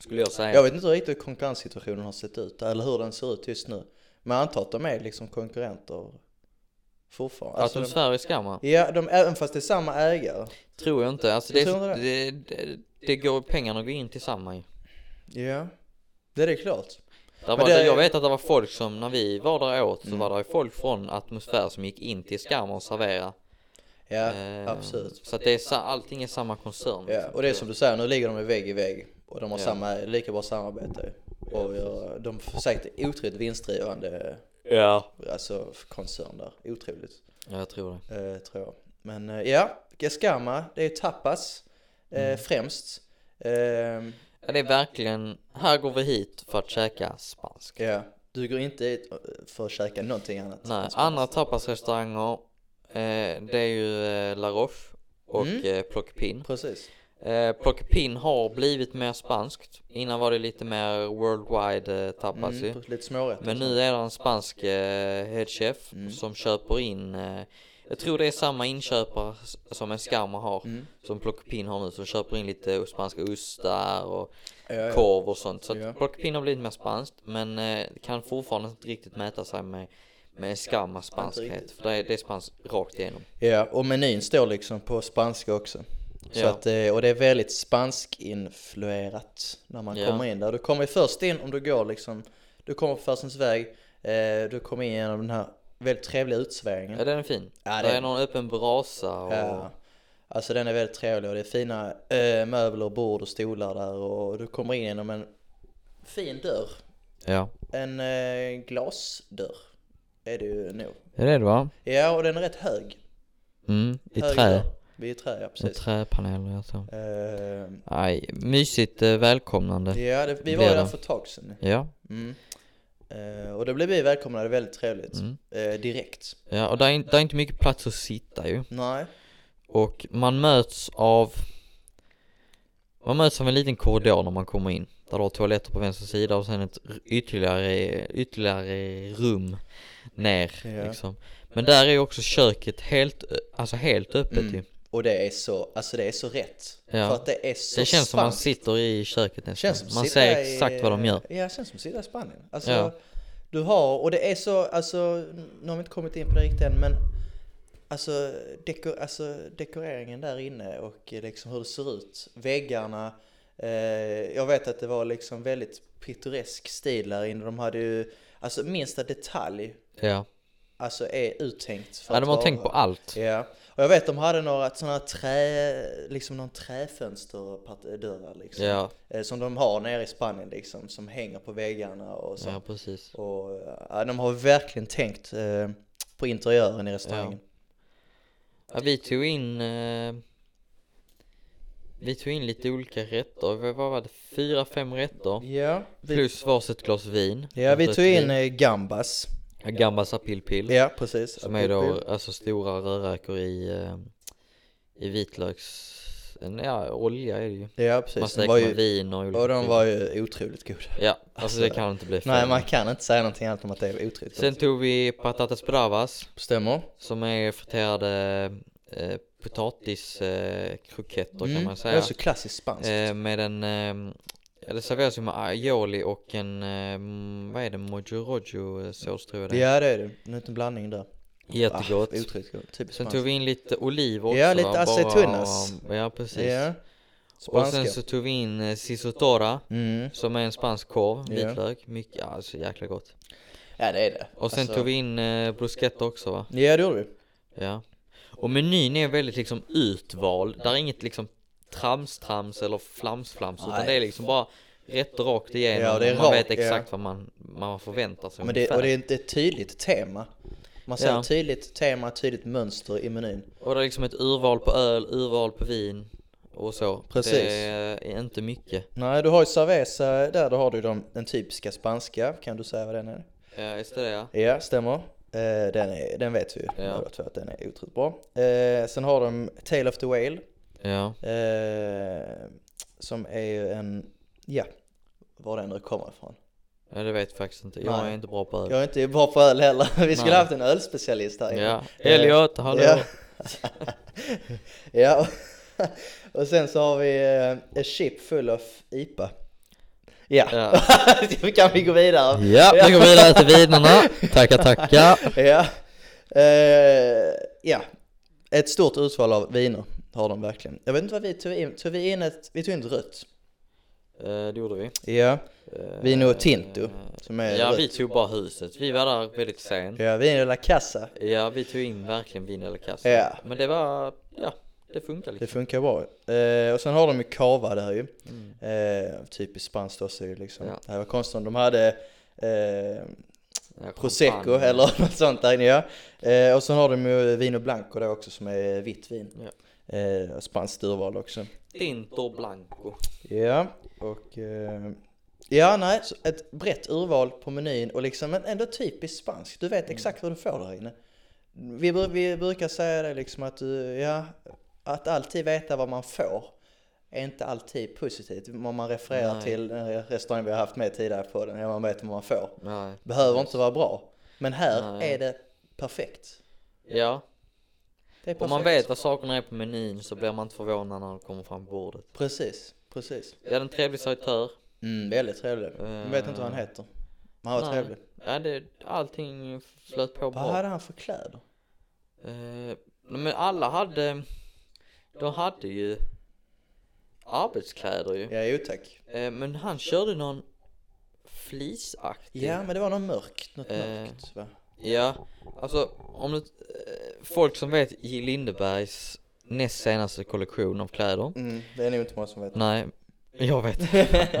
Speaker 1: skulle jag säga.
Speaker 2: Jag vet inte riktigt hur konkurrenssituationen har sett ut eller hur den ser ut just nu. Men jag antar att de är liksom konkurrenter fortfarande.
Speaker 1: Alltså,
Speaker 2: Alltså,
Speaker 1: de
Speaker 2: de,
Speaker 1: sfäriska man,
Speaker 2: ja, de, även fast det är samma ägare.
Speaker 1: tror jag inte. Alltså, det,
Speaker 2: Jag
Speaker 1: är,
Speaker 2: tror
Speaker 1: så- det, det, det går pengarna går in tillsammans ju.
Speaker 2: Ja, det är det klart.
Speaker 1: Där
Speaker 2: Men
Speaker 1: var,
Speaker 2: det-
Speaker 1: Jag vet att det var folk som, när vi var där åt, så
Speaker 2: Mm.
Speaker 1: var det folk från Atmosfär som gick in till Skam och servera.
Speaker 2: Ja,
Speaker 1: Eh,
Speaker 2: absolut.
Speaker 1: Så att det är, sa- allting är samma koncern. liksom.
Speaker 2: Ja, och det är som du säger, nu ligger de i vägg i vägg och de har
Speaker 1: Ja.
Speaker 2: samma, lika bra samarbete. Och gör- de är säkert otroligt vinstdrivande
Speaker 1: Ja.
Speaker 2: alltså, koncern där. Otroligt,
Speaker 1: ja, jag tror det.
Speaker 2: eh, tror jag. Men eh, ja, Gaskama, det är tapas eh, främst. Ehm,
Speaker 1: Ja, det är verkligen, här går vi hit för att käka spansk.
Speaker 2: Ja, du går inte hit för att käka någonting annat. Alltså,
Speaker 1: Nej, andra tapasrestauranger, eh, det är ju eh, La Roche och
Speaker 2: Mm.
Speaker 1: eh, Plockepinn.
Speaker 2: Precis.
Speaker 1: Eh, Plockepinn har blivit mer spanskt. Innan var det lite mer worldwide eh, tapas ju.
Speaker 2: Mm, lite smårätter.
Speaker 1: Men nu är det en spansk eh, headchef
Speaker 2: Mm.
Speaker 1: som köper in, eh, jag tror det är samma inköpare s- som en skamma har,
Speaker 2: Mm.
Speaker 1: som Plockepinn har nu, som köper in lite spanska ostar och
Speaker 2: Ja, ja.
Speaker 1: korv och sånt. Så att
Speaker 2: Ja.
Speaker 1: Plockepinn har blivit mer spanskt, men eh, kan fortfarande inte riktigt mäta sig med, med skammas spanskhet.
Speaker 2: riktigt.
Speaker 1: För det är, det är spanskt rakt igenom.
Speaker 2: Ja, och menyn står liksom på spanska också. Så
Speaker 1: Ja.
Speaker 2: att, eh, och det är väldigt spanskinfluerat när man
Speaker 1: Ja.
Speaker 2: kommer in där. Du kommer först in om du går liksom, du kommer på Farsens väg, eh, du kommer in genom den här väldigt trevliga utsväringen.
Speaker 1: Ja, den är fin.
Speaker 2: Mm. Ja,
Speaker 1: det
Speaker 2: det är-
Speaker 1: är någon öppen brasa och...
Speaker 2: Ja. Alltså den är väldigt trevlig och det är fina eh, möbler, bord och stolar där och du kommer in genom en fin dörr
Speaker 1: Ja.
Speaker 2: En eh, glasdörr är det ju nog.
Speaker 1: Det är det va?
Speaker 2: Ja, och den är rätt hög.
Speaker 1: Mm, i
Speaker 2: hög
Speaker 1: trä.
Speaker 2: dörr. Vi är i trä, ja
Speaker 1: I
Speaker 2: precis.
Speaker 1: träpaneler och så.
Speaker 2: Eh,
Speaker 1: Aj, mysigt eh, välkomnande.
Speaker 2: ja, det, vi
Speaker 1: Blir
Speaker 2: var ju där
Speaker 1: det.
Speaker 2: för ett tag sedan.
Speaker 1: Ja,
Speaker 2: Mm. Eh, och då blev vi välkomnade väldigt trevligt.
Speaker 1: Mm.
Speaker 2: Eh, direkt.
Speaker 1: ja och det är, in- det är inte mycket plats att sitta ju.
Speaker 2: Nej.
Speaker 1: Och man möts av... Man möts av en liten korridor när man kommer in. Där du har toaletter på vänster sida och sen ett r- ytterligare, ytterligare rum ner
Speaker 2: Ja.
Speaker 1: liksom. Men där är också köket helt, ö- alltså helt öppet
Speaker 2: Mm.
Speaker 1: ju.
Speaker 2: Och det är så, alltså det är så rätt.
Speaker 1: Ja.
Speaker 2: För att det är så
Speaker 1: Det känns som man
Speaker 2: spanskt.
Speaker 1: sitter i köket nästan.
Speaker 2: Känns som
Speaker 1: Man
Speaker 2: att
Speaker 1: ser
Speaker 2: sitta i-
Speaker 1: exakt vad de gör.
Speaker 2: Ja, det känns som att sitta i Spanien. Alltså,
Speaker 1: Ja.
Speaker 2: du har, och det är så, alltså, nu har vi inte kommit in på det riktigt än, men alltså, deko, alltså dekoreringen där inne och liksom hur det ser ut, väggarna. Eh, jag vet att det var liksom väldigt pittoresk stil där inne. De hade ju, alltså minsta detalj,
Speaker 1: Ja.
Speaker 2: alltså är uttänkt. För
Speaker 1: Ja, de har
Speaker 2: vara-
Speaker 1: tänkt på allt.
Speaker 2: Ja, och jag vet de hade några sådana trä, liksom någon träfönsterdörrar liksom.
Speaker 1: Ja,
Speaker 2: Eh, som de har nere i Spanien liksom, som hänger på väggarna och så.
Speaker 1: ja precis.
Speaker 2: Och, eh, ja, de har verkligen tänkt eh, på interiören i restaurangen.
Speaker 1: Ja, vi tog in eh, Vi tog in lite olika rätter, vad vad var det? Fyra, fem rätter
Speaker 2: Ja, vi,
Speaker 1: Plus varsitt glas vin Alltså,
Speaker 2: ja, vi
Speaker 1: Rött
Speaker 2: tog in
Speaker 1: vin.
Speaker 2: eh, gambas.
Speaker 1: Gambas apilpil
Speaker 2: Ja, precis.
Speaker 1: Mm. Som är då alltså stora rödräkor i eh, I vitlöks en- Ja, olja är det ju
Speaker 2: Ja,
Speaker 1: Man
Speaker 2: precis. De
Speaker 1: steker
Speaker 2: var
Speaker 1: med
Speaker 2: ju,
Speaker 1: vin och olika
Speaker 2: och de
Speaker 1: pil.
Speaker 2: var ju otroligt goda.
Speaker 1: Ja, alltså det kan inte bli fel
Speaker 2: Nej, man kan inte säga någonting annat om att det är otroligt
Speaker 1: Sen
Speaker 2: gott.
Speaker 1: tog vi patatas bravas
Speaker 2: Stämmer.
Speaker 1: Som är friterade eh, potatiskroketter eh, kroketter kan
Speaker 2: Mm.
Speaker 1: man
Speaker 2: Det
Speaker 1: säga
Speaker 2: är så klassiskt spanskt.
Speaker 1: Eh, med en, ehm, ja, det serveras ju med aioli och en, ehm, vad är det, mojo rojo eh, sås tror jag det är.
Speaker 2: Ja, det är det. En liten blandning där.
Speaker 1: Jättegott.
Speaker 2: Ah, otroligt gott. Typiskt
Speaker 1: sen
Speaker 2: spanskt.
Speaker 1: tog vi in lite oliver också.
Speaker 2: Ja, lite
Speaker 1: va, bara-
Speaker 2: aceitunas.
Speaker 1: Ja, precis.
Speaker 2: Ja.
Speaker 1: och sen
Speaker 2: Spanska.
Speaker 1: så tog vi in eh, sisotora.
Speaker 2: Mm.
Speaker 1: Som är en spansk korv,
Speaker 2: Ja.
Speaker 1: vitlök, mycket, ja, alltså jäkla gott.
Speaker 2: Ja, det är det.
Speaker 1: Och sen
Speaker 2: Alltså-
Speaker 1: tog vi in eh, bruschetta också va?
Speaker 2: Ja, det gjorde vi.
Speaker 1: Ja. Och menyn är väldigt liksom utvald, där är inget liksom trams-trams eller flams-flams utan
Speaker 2: Nej.
Speaker 1: det är liksom bara rätt rakt igenom
Speaker 2: Ja, det är
Speaker 1: och man
Speaker 2: rakt,
Speaker 1: vet
Speaker 2: ja.
Speaker 1: exakt vad man, man förväntar sig
Speaker 2: Men det,
Speaker 1: ungefär.
Speaker 2: och det är inte ett tydligt tema. Man ser
Speaker 1: Ja.
Speaker 2: ett tydligt tema, ett tydligt mönster i menyn.
Speaker 1: Och det är liksom ett urval på öl, urval på vin och så.
Speaker 2: Precis.
Speaker 1: Det är inte mycket.
Speaker 2: Nej, du har ju cerveza där, då har du de, den typiska spanska, kan du säga vad den är?
Speaker 1: Ja, just det ja.
Speaker 2: Ja, stämmer. Eh, den, är, den vet vi ju,
Speaker 1: Ja.
Speaker 2: båda två, att den är otroligt bra. Eh, sen har de Tale of the Whale,
Speaker 1: Ja,
Speaker 2: eh, som är ju en, ja, var den nu kommer ifrån.
Speaker 1: ja det vet jag faktiskt inte. Jag
Speaker 2: Nej.
Speaker 1: är inte bra på öl.
Speaker 2: Jag är inte bra på öl heller, vi skulle
Speaker 1: Nej.
Speaker 2: haft en Eh, ölspecialist här inne.
Speaker 1: Ja,
Speaker 2: Eh,
Speaker 1: Elliot, hallå!
Speaker 2: Ja. ja. Och sen så har vi eh, a chip full of IPA. Ja,
Speaker 1: Ja.
Speaker 2: då kan vi gå vidare.
Speaker 1: Ja, vi går vidare till vinerna. Tackar, tackar.
Speaker 2: Ja. Eh, ja, ett stort utval av viner har de verkligen. Jag vet inte vad vi tog in, tog vi in ett, vi tog in ett rött.
Speaker 1: Eh, det gjorde vi.
Speaker 2: Ja, Vino och Tinto som är
Speaker 1: Eh, Ja,
Speaker 2: rött.
Speaker 1: vi tog bara huset. Vi var där väldigt sent.
Speaker 2: Ja, vin eller kassa.
Speaker 1: Ja, vi tog in verkligen vin eller kassa.
Speaker 2: Ja.
Speaker 1: Men det var, ja, det funkar
Speaker 2: Det
Speaker 1: liksom.
Speaker 2: funkar bra. Eh, och sen har de ju cava där ju.
Speaker 1: Mm.
Speaker 2: Eh, typiskt spanskt också ju liksom.
Speaker 1: Ja.
Speaker 2: Det här var konstigt om de hade eh,
Speaker 1: Ja,
Speaker 2: prosecco
Speaker 1: champagne.
Speaker 2: eller något sånt där inne ja. Eh, och sen har de ju vino blanco där också som är vitt vin. Eh, och spanskt urval också.
Speaker 1: Tinto Blanco.
Speaker 2: Ja, och... Eh, ja, nej, så ett brett urval på menyn och liksom men ändå typiskt spanskt. Du vet exakt
Speaker 1: Mm.
Speaker 2: vad du får där inne. Vi, bru- vi brukar säga det liksom att du, ja, att alltid veta vad man får är inte alltid positivt. Om man refererar
Speaker 1: Nej.
Speaker 2: till den restaurang vi har haft med tidigare på den, ja man vet vad man får.
Speaker 1: Nej.
Speaker 2: Behöver inte vara bra. Men här
Speaker 1: Nej.
Speaker 2: är det perfekt.
Speaker 1: Ja,
Speaker 2: Det är
Speaker 1: om
Speaker 2: perfekt.
Speaker 1: man vet vad sakerna är på menyn så blir man inte förvånad när de kommer fram på bordet.
Speaker 2: Precis, precis.
Speaker 1: Vi hade en trevlig servitör.
Speaker 2: Mm, väldigt trevlig. Jag vet inte vad han heter. Men han var
Speaker 1: Eh. Nej.
Speaker 2: trevlig.
Speaker 1: Ja, det, allting flöt på
Speaker 2: Vad
Speaker 1: bra.
Speaker 2: hade han för kläder?
Speaker 1: Eh, men alla hade, de hade ju arbetskläder ju.
Speaker 2: Ja, jo tack.
Speaker 1: Eh, men han körde någon fleeceaktig.
Speaker 2: Ja, men det var något mörkt, något
Speaker 1: Eh.
Speaker 2: mörkt va?
Speaker 1: Ja, alltså om det, eh, folk som vet J. Lindebergs näst senaste kollektion av kläder.
Speaker 2: Mm, det är nog inte många som vet.
Speaker 1: Nej, jag vet.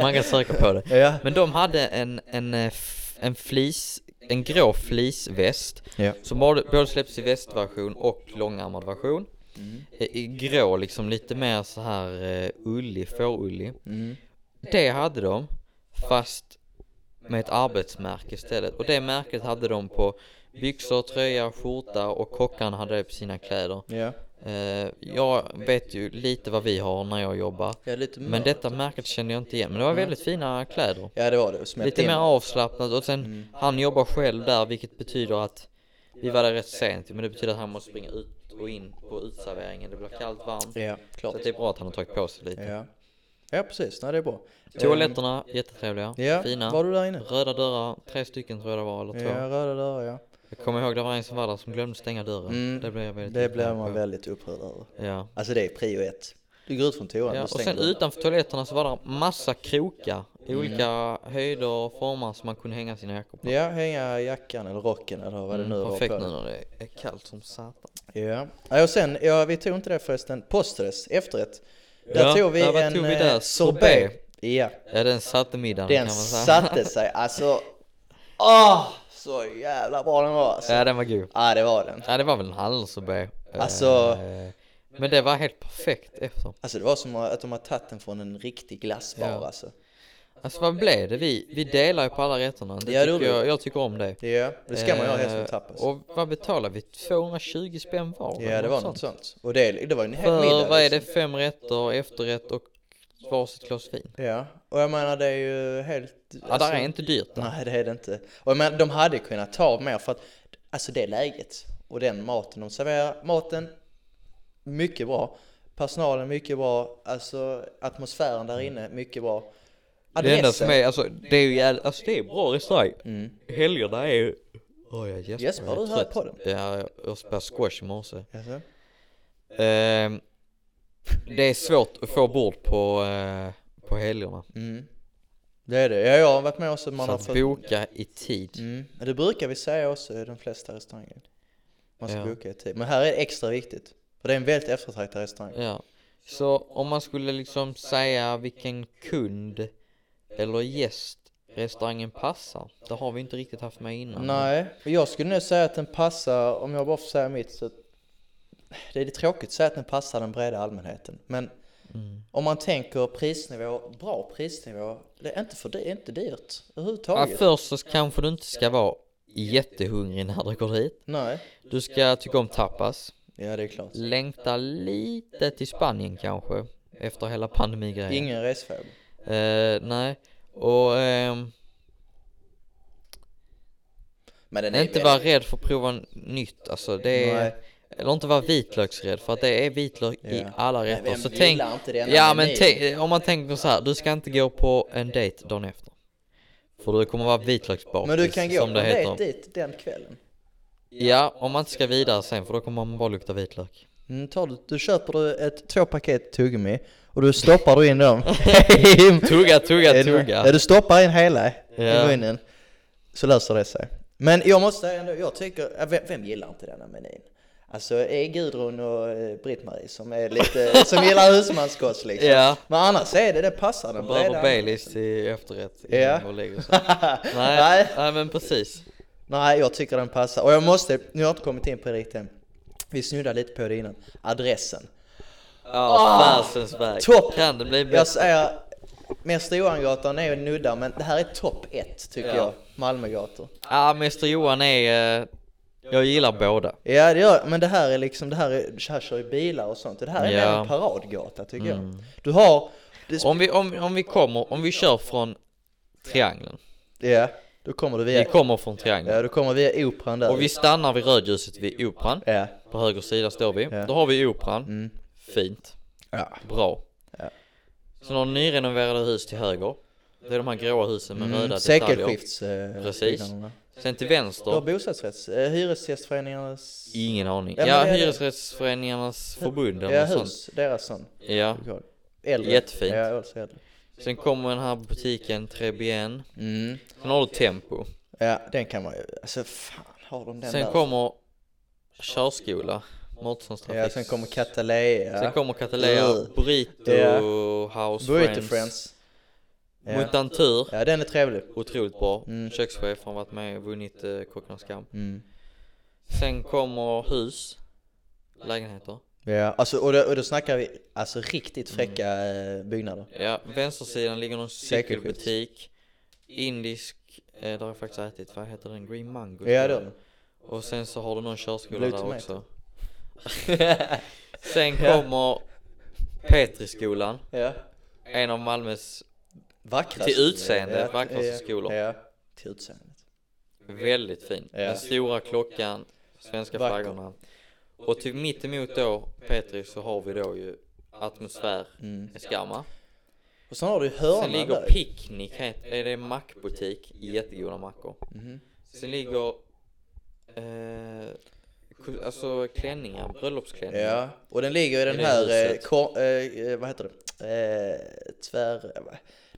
Speaker 1: Man kan söka på det.
Speaker 2: Ja.
Speaker 1: Men de hade en, en, eh, f- en flis, en grå fleeceväst
Speaker 2: Ja.
Speaker 1: som både, både släpps i västversion och långärmad version.
Speaker 2: Mm.
Speaker 1: I i grå liksom lite mer så här eh, ullig, fårullig.
Speaker 2: Mm.
Speaker 1: Det hade de, fast med ett arbetsmärke istället. Och det märket hade de på byxor, tröja, skjorta och kockarna hade det på sina kläder.
Speaker 2: Ja.
Speaker 1: Eh, jag vet ju lite vad vi har när jag jobbar.
Speaker 2: Ja, lite
Speaker 1: Men
Speaker 2: mörkt.
Speaker 1: detta märket kände jag inte igen. Men det var väldigt fina kläder.
Speaker 2: Ja, det var det. Smält
Speaker 1: Lite
Speaker 2: in.
Speaker 1: mer avslappnat och sen
Speaker 2: Mm.
Speaker 1: han jobbar själv där vilket betyder att vi var där rätt sent men det betyder att han måste springa ut och in på utserveringen. Det blir kallt, varmt.
Speaker 2: Ja,
Speaker 1: Så
Speaker 2: klart.
Speaker 1: att det är bra att han har tagit på sig lite.
Speaker 2: Ja. Ja, precis. Nej, det är bra.
Speaker 1: Toaletterna, jättetrevliga,
Speaker 2: Ehm, Ja,
Speaker 1: fina.
Speaker 2: var du där inne?
Speaker 1: Röda dörrar, tre stycken tror jag det var, eller två.
Speaker 2: Ja, röda dörrar ja.
Speaker 1: Jag kommer ihåg det var en som var där som glömde stänga dörren.
Speaker 2: Mm,
Speaker 1: Det blev jag väldigt
Speaker 2: Det
Speaker 1: irriterad
Speaker 2: blev man
Speaker 1: på.
Speaker 2: väldigt upprörd över.
Speaker 1: Ja.
Speaker 2: Alltså det är prio ett. Du går ut från toan,
Speaker 1: ja.
Speaker 2: du
Speaker 1: Och
Speaker 2: stänger
Speaker 1: sen
Speaker 2: dörren.
Speaker 1: utanför toaletterna så var det massa krokar i olika höjder och former som man kunde hänga sina jackor på.
Speaker 2: Mm. Ja, hänga jackan eller rocken eller vad det nu var
Speaker 1: Mm, Perfekt
Speaker 2: på
Speaker 1: nu
Speaker 2: dig.
Speaker 1: när det är kallt som satan.
Speaker 2: Ja. ja, och sen, ja, vi tog inte det förresten, posträtt, efterrätt. Där
Speaker 1: Ja,
Speaker 2: tog vi
Speaker 1: ja, vad
Speaker 2: en
Speaker 1: tog vi
Speaker 2: eh,
Speaker 1: där?
Speaker 2: sorbet.
Speaker 1: Sorbet.
Speaker 2: Ja,
Speaker 1: Ja den satte middagen kan
Speaker 2: den
Speaker 1: man säga.
Speaker 2: satte sig. Alltså, åh, så jävla bra den var alltså.
Speaker 1: Ja den var god.
Speaker 2: Ja, det var den.
Speaker 1: Ja det var väl en hallonsorbet. Eh,
Speaker 2: Alltså-
Speaker 1: Men det var helt perfekt efter.
Speaker 2: Alltså det var som att de har tagit den från en riktig glassbar
Speaker 1: Ja.
Speaker 2: alltså.
Speaker 1: Alltså vad blev det? Vi, vi delar ju på alla rätterna. Det
Speaker 2: Ja, det
Speaker 1: tycker
Speaker 2: gjorde vi.
Speaker 1: jag, jag tycker om det.
Speaker 2: Ja, det ska man göra helst
Speaker 1: Eh,
Speaker 2: som tappas.
Speaker 1: Och vad betalar vi? 220 spänn var?
Speaker 2: Ja, det var något sånt. Och det, det var ju en hel middag.
Speaker 1: För vad är det?
Speaker 2: liksom.
Speaker 1: Fem rätter, efterrätt och varsitt glas vin?
Speaker 2: Ja, och jag menar det är ju helt... alltså,
Speaker 1: Ja, där är inte dyrt.
Speaker 2: Nej, det är det inte. Och jag menar, de hade kunnat ta mer för att, alltså det läget och den maten de serverar. Maten, mycket bra. Personalen, mycket bra. Alltså atmosfären där inne, mycket bra.
Speaker 1: Det enda
Speaker 2: Adressen.
Speaker 1: som är, alltså det är ju jävla, alltså det är bra restaurang.
Speaker 2: Mm.
Speaker 1: Helgerna är ju... Åh jag gäspar,
Speaker 2: Jesper,
Speaker 1: jag är
Speaker 2: du hör
Speaker 1: trött.
Speaker 2: på den.
Speaker 1: Ja, jag- jag spelade squash i morse.
Speaker 2: Alltså,
Speaker 1: Ehm, det är svårt att få bord på, eh, på helgerna.
Speaker 2: mm. Det är det. Ja, jag har varit med också. Man
Speaker 1: Så
Speaker 2: har
Speaker 1: att
Speaker 2: fått...
Speaker 1: boka i tid.
Speaker 2: Mm. Men Det brukar vi säga också i de flesta restauranger. Man ska
Speaker 1: Ja.
Speaker 2: boka i tid. Men här är det extra viktigt. För det är en väldigt eftertraktad restaurang.
Speaker 1: Ja. Så om man skulle liksom säga vilken kund eller gäst restaurangen passar. Det har vi inte riktigt haft med innan.
Speaker 2: Nej, och jag skulle nog säga att den passar, om jag bara får säga mitt så... Det är lite tråkigt att säga att den passar den breda allmänheten. Men
Speaker 1: Mm.
Speaker 2: om man tänker prisnivå, bra prisnivå, det är inte för det är inte dyrt
Speaker 1: Ja,
Speaker 2: överhuvudtaget.
Speaker 1: först så kanske du inte ska vara jättehungrig när du går hit.
Speaker 2: Nej.
Speaker 1: Du ska tycka om tapas.
Speaker 2: Ja, det är klart.
Speaker 1: Längta lite till Spanien kanske. Efter hela pandemigrejen.
Speaker 2: Ingen resfeber.
Speaker 1: Eh, nej. Och ehm,
Speaker 2: Men den är
Speaker 1: inte
Speaker 2: väldigt-
Speaker 1: vara rädd för att prova nytt. Alltså det är,
Speaker 2: Nej.
Speaker 1: Eller inte vara vitlöksrädd för att det är vitlök i
Speaker 2: Ja.
Speaker 1: alla
Speaker 2: Men
Speaker 1: rätter.
Speaker 2: vem
Speaker 1: Så
Speaker 2: gillar
Speaker 1: tänk,
Speaker 2: inte det när
Speaker 1: ja
Speaker 2: man är
Speaker 1: men
Speaker 2: ny?
Speaker 1: tänk, om man tänker så här, du ska inte gå på en dejt dagen efter. För du kommer vara vitlöksbakis
Speaker 2: Men du kan gå
Speaker 1: som
Speaker 2: på
Speaker 1: det
Speaker 2: en dejt
Speaker 1: heter.
Speaker 2: dit den kvällen.
Speaker 1: Ja, om man inte ska vidare sen för då kommer man bara lukta vitlök.
Speaker 2: Mm, tar du, du köper du ett, två paket tuggummi och du stoppar du in dem. I-
Speaker 1: Tugga, tugga,
Speaker 2: Ja,
Speaker 1: tugga.
Speaker 2: du stoppar in hela i
Speaker 1: Ja.
Speaker 2: munnen. Så löser det sig. Men jag måste säga ändå, jag tycker, ja, vem, vem gillar inte denna menyn? Alltså är Gudrun och eh, Britt-Marie som är lite, som gillar husmanskost liksom.
Speaker 1: Ja.
Speaker 2: Men annars är det, det passar den
Speaker 1: Behöver
Speaker 2: breda-
Speaker 1: Baileys till efterrätt innan
Speaker 2: Ja.
Speaker 1: man lägger sig. Nej,
Speaker 2: Nej.
Speaker 1: nej men precis.
Speaker 2: Nej, jag tycker den passar. Och jag måste, nu har jag inte kommit in på det riktigt än. Vi snuddade lite på det innan. Adressen.
Speaker 1: Ja, Färsensberg.
Speaker 2: Ah, Topp!
Speaker 1: Kan det bli
Speaker 2: Jag
Speaker 1: bättre?
Speaker 2: säger, Mäster Johangatan är ju nudda, men det här är topp ett tycker
Speaker 1: Ja.
Speaker 2: jag. Malmögator.
Speaker 1: Ja, Mäster Johan är... eh, Jag gillar båda.
Speaker 2: Ja, det gör, men det här är liksom, det här, är, här kör ju bilar och sånt. Det här är
Speaker 1: Ja. Mm.
Speaker 2: mer en paradgata tycker jag. Du har, det,
Speaker 1: Om vi, om, om vi kommer, om vi kör från triangeln.
Speaker 2: ja, då kommer du
Speaker 1: Vi
Speaker 2: via,
Speaker 1: kommer från triangeln.
Speaker 2: ja, då kommer via operan där.
Speaker 1: Och vi stannar vid rödljuset vid Operan.
Speaker 2: ja.
Speaker 1: På höger sida står vi.
Speaker 2: Ja.
Speaker 1: Då har vi Operan.
Speaker 2: Mm.
Speaker 1: Fint.
Speaker 2: ja.
Speaker 1: Bra. Sen har nyrenoverade hus till höger. Det är de här gråa husen med röda
Speaker 2: Mm.
Speaker 1: detaljer.
Speaker 2: Sekelskifts... Eh,
Speaker 1: Precis.
Speaker 2: byggnaderna.
Speaker 1: Sen till
Speaker 2: Du har
Speaker 1: vänster.
Speaker 2: bostadsrätts, eh, hyresgästföreningarnas...
Speaker 1: Ingen aning.
Speaker 2: Ja, men
Speaker 1: Ja,
Speaker 2: det är det.
Speaker 1: Hyresrättsföreningarnas förbund
Speaker 2: ja,
Speaker 1: eller något sånt.
Speaker 2: hus, deras sån.
Speaker 1: Ja.
Speaker 2: Äldre.
Speaker 1: Jättefint.
Speaker 2: Ja, också äldre.
Speaker 1: Sen kommer den här butiken Trebien.
Speaker 2: Mm.
Speaker 1: Sen har du Tempo.
Speaker 2: Ja, den kan man ju, alltså fan har de den
Speaker 1: Sen
Speaker 2: där?
Speaker 1: kommer Körskola, Mårtenssons trafik.
Speaker 2: ja, sen kommer Catalea.
Speaker 1: Sen kommer Catalea,
Speaker 2: Ugh.
Speaker 1: Burrito
Speaker 2: Ja.
Speaker 1: House
Speaker 2: Burrito
Speaker 1: Friends,
Speaker 2: Friends. Ja.
Speaker 1: Mutantur,
Speaker 2: ja, den är trevlig.
Speaker 1: otroligt bra.
Speaker 2: Mm.
Speaker 1: Kökschef har varit med och vunnit eh, Kockarnas kamp.
Speaker 2: Mm.
Speaker 1: Sen kommer hus, lägenheter.
Speaker 2: Ja, alltså, och, då, och då snackar vi alltså riktigt fräcka eh, byggnader.
Speaker 1: Ja, vänstersidan ligger någon cykelbutik. Indisk, eh, där har jag faktiskt ätit, vad heter den? Green Mango? tror
Speaker 2: Ja,
Speaker 1: jag.
Speaker 2: det är den.
Speaker 1: Och sen så har du någon körskola
Speaker 2: Blue
Speaker 1: där också.
Speaker 2: tomato.
Speaker 1: sen kommer Petriskolan,
Speaker 2: Ja.
Speaker 1: en av Malmös
Speaker 2: Vackrast.
Speaker 1: Till utseende,
Speaker 2: Ja,
Speaker 1: vackraste
Speaker 2: ja,
Speaker 1: skolor.
Speaker 2: Ja, till utseendet.
Speaker 1: väldigt fin.
Speaker 2: Ja.
Speaker 1: Den stora klockan, svenska
Speaker 2: Vacker.
Speaker 1: flaggorna. Och till mittemot då, Petri, så har vi då ju atmosfär,
Speaker 2: Mm.
Speaker 1: skamma.
Speaker 2: Och sen har du
Speaker 1: Sen
Speaker 2: hörnan
Speaker 1: ligger
Speaker 2: där.
Speaker 1: Picknick, het- är det en mackbutik, jättegoda mackor.
Speaker 2: Mhm.
Speaker 1: Sen ligger, eh, ku- alltså klänningar, bröllopsklänningar.
Speaker 2: Ja, och den ligger i den
Speaker 1: det
Speaker 2: här, eh,
Speaker 1: huset.
Speaker 2: kor- eh, eh, vad heter det, eh, tvär...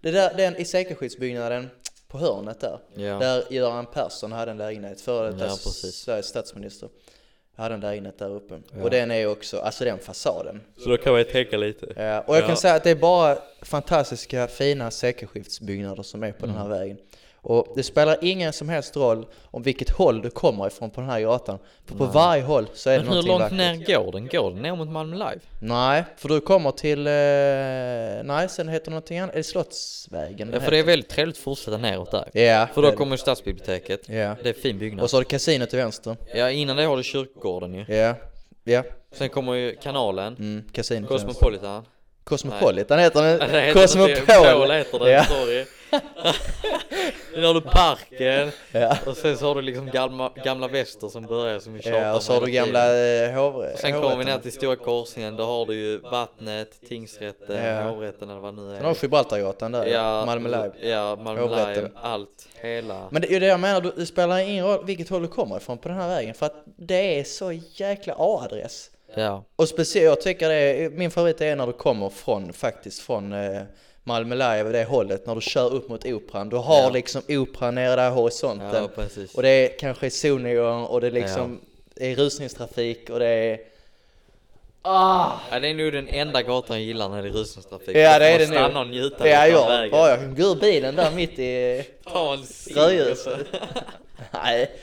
Speaker 2: Det där, den i säkerhetsskyddsbyggnaden på hörnet där.
Speaker 1: Ja.
Speaker 2: Där Göran Persson hade en lägenhet, före detta
Speaker 1: Ja, precis.
Speaker 2: Sveriges statsminister. Hade en lägenhet där uppe. Och den är också, alltså den fasaden.
Speaker 1: Så då kan man tänka lite.
Speaker 2: Ja, och jag
Speaker 1: Ja.
Speaker 2: kan säga att det är bara fantastiska fina säkerhetsbyggnader som är på den
Speaker 1: Mm.
Speaker 2: här vägen. Och det spelar ingen som helst roll om vilket håll du kommer ifrån på den här gatan. För på varje håll så är det
Speaker 1: Men hur
Speaker 2: någonting
Speaker 1: långt
Speaker 2: vackert.
Speaker 1: ner går den? Går den ner mot Malmö Live?
Speaker 2: Nej, för du kommer till... Eh, nej, sen heter det någonting annat. Är det Slottsvägen?
Speaker 1: Ja, för det är väldigt trevligt att fortsätta neråt där.
Speaker 2: Ja,
Speaker 1: För då
Speaker 2: det-
Speaker 1: kommer stadsbiblioteket.
Speaker 2: Ja.
Speaker 1: Det är fin byggnad.
Speaker 2: Och så har du kasinot till vänster.
Speaker 1: Ja, innan det har du kyrkogården ju.
Speaker 2: Ja, ja.
Speaker 1: Sen kommer ju kanalen,
Speaker 2: Mm, kasinot till vänster.
Speaker 1: Cosmopolitan.
Speaker 2: Cosmopolitan heter den.
Speaker 1: Det heter
Speaker 2: Cosmopol.
Speaker 1: inte- Pol heter det,
Speaker 2: Ja.
Speaker 1: sorry. Sen har du parken.
Speaker 2: Ja.
Speaker 1: Och sen så har du liksom gamla, gamla väster som börjar som vi tjatar
Speaker 2: ja,
Speaker 1: om
Speaker 2: och så har du
Speaker 1: hela tiden.
Speaker 2: gamla eh, hovre-
Speaker 1: Sen kommer vi
Speaker 2: hovrätterna.
Speaker 1: ner till Stora Korsningen, då har du ju vattnet, tingsrätten,
Speaker 2: Ja.
Speaker 1: hovrätten eller vad det nu
Speaker 2: Sen har
Speaker 1: är.
Speaker 2: du Gibraltargatan där,
Speaker 1: Ja,
Speaker 2: Malmö Live.
Speaker 1: Ja, Malmö Live,
Speaker 2: Hovrätten.
Speaker 1: allt, hela.
Speaker 2: Men det är ju det jag menar, du- det spelar ingen roll vilket håll du kommer ifrån på den här vägen för att det är så jäkla A-adress.
Speaker 1: Ja.
Speaker 2: Och speciellt, jag tycker det är, min favorit är när du kommer från, faktiskt från eh, Malmö Live, det hållet, när du kör upp mot Operan. Du har
Speaker 1: Ja.
Speaker 2: liksom Operan nere där i horisonten.
Speaker 1: Ja, precis.
Speaker 2: och det är kanske solnedgång och det är liksom, det är rusningstrafik och det är... Ah!
Speaker 1: Ja, det är nog den enda gatan jag gillar när det är rusningstrafik.
Speaker 2: Ja
Speaker 1: Då
Speaker 2: det
Speaker 1: får
Speaker 2: är det
Speaker 1: man
Speaker 2: nog.
Speaker 1: Stanna och njuta
Speaker 2: Ja,
Speaker 1: lite av
Speaker 2: jag,
Speaker 1: vägen.
Speaker 2: ja, jag kan gå ur bilen där mitt i...
Speaker 1: Ta en cigg.
Speaker 2: Rödljuset. Nej.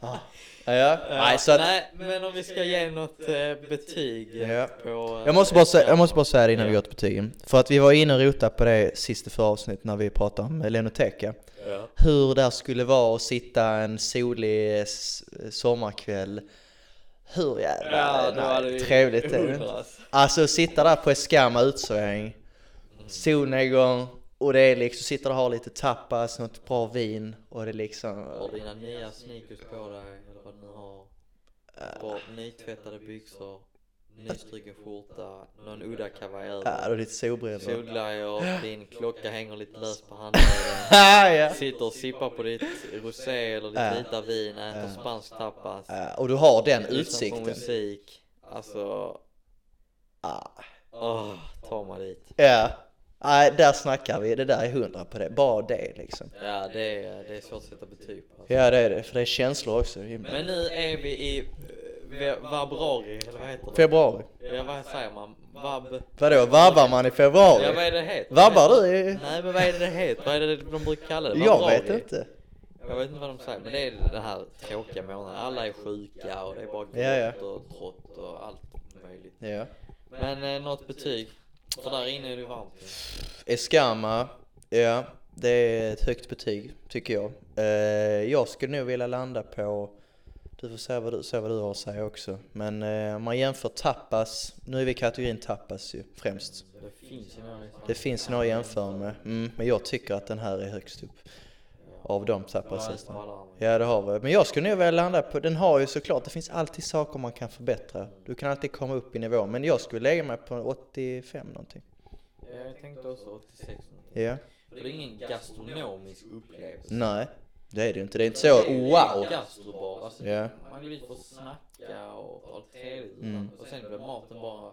Speaker 2: Ah. Ja, nej så att...
Speaker 1: Nej, men om vi ska ge något eh, betyg eh,
Speaker 2: Ja.
Speaker 1: på... eh,
Speaker 2: Jag måste, bara säga, jag måste bara säga det innan vi går till betygen. För att vi var inne och rotade på det sista förra avsnittet när vi pratade om Lenoteka.
Speaker 1: Ja.
Speaker 2: Hur där skulle vara att sitta en solig s- sommarkväll. Hur jävla
Speaker 1: Ja, då hade vi
Speaker 2: nej, trevligt är det inte.
Speaker 1: hundras.
Speaker 2: Alltså sitta där på en skamma utsväng, solnedgång och det är liksom, sitta där och ha lite tapas, något bra vin och det är liksom... Eh.
Speaker 1: Har dina nya sneakers på dig, eller vad du nu har. köper nytvättade byxor, nystruken skjorta, någon udda kavaj
Speaker 2: Ja,
Speaker 1: över.
Speaker 2: då är äh, lite solbrända.
Speaker 1: Solglajjor, din klocka hänger lite löst på handleden.
Speaker 2: Ah, ja.
Speaker 1: Sitter och sippar på ditt rosé eller ditt
Speaker 2: Ja.
Speaker 1: vita vin, äter
Speaker 2: Ja.
Speaker 1: spansk tapas.
Speaker 2: Ja, Äh, Och du har den
Speaker 1: lyssnar på
Speaker 2: utsikten.
Speaker 1: musik. Alltså,
Speaker 2: Ah.
Speaker 1: åh, ta mig dit.
Speaker 2: Ja. Nej, där snackar vi. Det där är hundra på det. Bara det liksom.
Speaker 1: Ja, det är, det är svårt att sätta betyg på. alltså.
Speaker 2: Ja, det är det. För det är känslor också. Himla.
Speaker 1: Men nu är vi i eh, ve- vabruari, eller vad heter det?
Speaker 2: Februari.
Speaker 1: Ja, vad säger man? Vab...
Speaker 2: Vadå, vabbar man i
Speaker 1: Ja, vad
Speaker 2: februari?
Speaker 1: är det heter?
Speaker 2: Vabbar du i...
Speaker 1: Nej, men vad är det det heter? Vad är det de brukar kalla det?
Speaker 2: Jag
Speaker 1: Vabruari?
Speaker 2: vet inte.
Speaker 1: Jag vet inte vad de säger, men det är den här tråkiga månaden. Alla är sjuka och det är bara grått
Speaker 2: Ja, ja.
Speaker 1: och trått och allt möjligt.
Speaker 2: Ja.
Speaker 1: Men eh, något betyg? För där inne är det varmt. ju.
Speaker 2: Eskama, ja. Det är ett högt betyg, tycker jag. Eh, jag skulle nog vilja landa på... Du får säga vad du, säga vad du har att säga också. Men eh, om man jämför tapas, nu är vi i kategorin tapas ju,
Speaker 1: Det
Speaker 2: främst.
Speaker 1: finns ju några liksom.
Speaker 2: Det finns några att jämföra med, mm, men jag tycker att den här är högst upp. Av de
Speaker 1: precis.
Speaker 2: tapaslistorna. Ja det har vi. Men jag skulle nog vilja landa på, den har ju såklart, det finns alltid saker man kan förbättra. Du kan alltid komma upp i nivå, men jag skulle lägga mig på 85 någonting.
Speaker 1: Jag tänkte också 86 någonting.
Speaker 2: Ja.
Speaker 1: För det är ingen gastronomisk upplevelse.
Speaker 2: Nej, det är det ju inte. Det är inte
Speaker 1: Det
Speaker 2: så,
Speaker 1: är- det är en
Speaker 2: wow!
Speaker 1: Gastrobar. Alltså,
Speaker 2: Ja.
Speaker 1: Man går dit för att snacka och ha trevligt.
Speaker 2: Mm.
Speaker 1: Och sen blir maten bara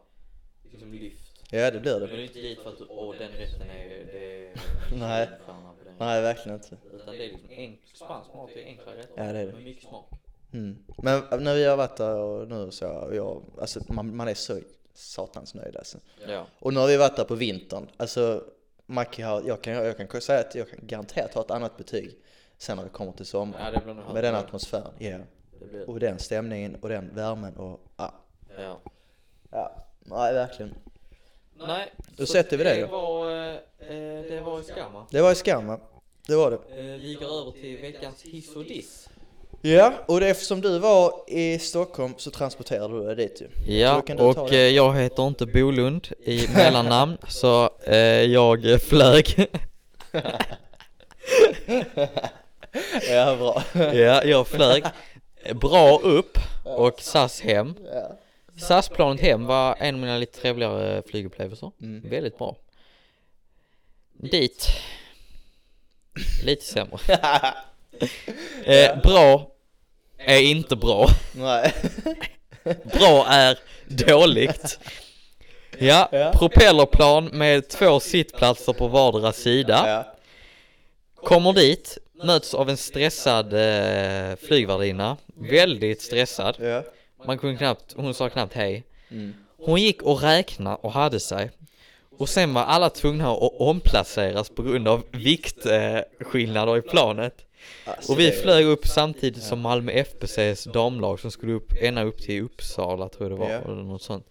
Speaker 1: liksom lyft.
Speaker 2: Ja det blir
Speaker 1: Du går
Speaker 2: det.
Speaker 1: inte dit för att åh den rätten är... Det är
Speaker 2: Nej.
Speaker 1: stjärna på den.
Speaker 2: Nej, verkligen inte.
Speaker 1: Utan det är liksom enkel, spansk mat är enkla rätter.
Speaker 2: Ja, det är det.
Speaker 1: Med mycket smak.
Speaker 2: Mm. Men när vi har varit där och nu och så, och jag, alltså man, man är så satans nöjd alltså.
Speaker 1: Ja.
Speaker 2: Och nu har vi varit där på vintern. Alltså, Mackie har, jag kan, jag kan säga att jag kan garanterat ha ett annat betyg sen när vi kommer till sommaren.
Speaker 1: Ja, det blir nog
Speaker 2: Med den atmosfären, ja.
Speaker 1: Det blir
Speaker 2: Och den stämningen och den värmen och ja.
Speaker 1: Ja.
Speaker 2: Ja, nej verkligen.
Speaker 1: Nej.
Speaker 2: Då
Speaker 1: så
Speaker 2: sätter vi det
Speaker 1: Det
Speaker 2: då.
Speaker 1: var, eh, eh, det var skamma.
Speaker 2: Det var ju skam va? Det var det.
Speaker 1: Eh, vi går över till veckans hiss och diss.
Speaker 2: Ja, och det, eftersom du var i Stockholm så transporterade du dig dit ju. Så
Speaker 1: Ja,
Speaker 2: kan du ta
Speaker 1: och eh,
Speaker 2: det.
Speaker 1: jag heter inte Bolund i mellannamn, så eh, jag eh, flög.
Speaker 2: Ja, bra.
Speaker 1: ja, jag flög eh, bra upp och SAS hem.
Speaker 2: Ja.
Speaker 1: SAS-planet hem var en av mina lite trevligare flygupplevelser.
Speaker 2: Mm.
Speaker 1: Väldigt bra. Dit. Lite sämre. eh, bra är inte bra.
Speaker 2: Nej.
Speaker 1: Bra är dåligt. Ja,
Speaker 2: Ja.
Speaker 1: propellerplan med två sittplatser på vardera sida.
Speaker 2: Ja.
Speaker 1: Kommer dit, möts av en stressad eh, flygvärdinna. Väldigt stressad.
Speaker 2: Ja.
Speaker 1: Man kunde knappt, hon sa knappt hej.
Speaker 2: Mm.
Speaker 1: Hon gick och räknade och hade sig. Och sen var alla tvungna att omplaceras på grund av viktskillnader eh, skillnader i planet.
Speaker 2: Alltså,
Speaker 1: Och vi
Speaker 2: det-
Speaker 1: flög upp samtidigt som Malmö FBCs damlag som skulle upp ända upp till Uppsala tror jag det var,
Speaker 2: Ja.
Speaker 1: eller något sånt.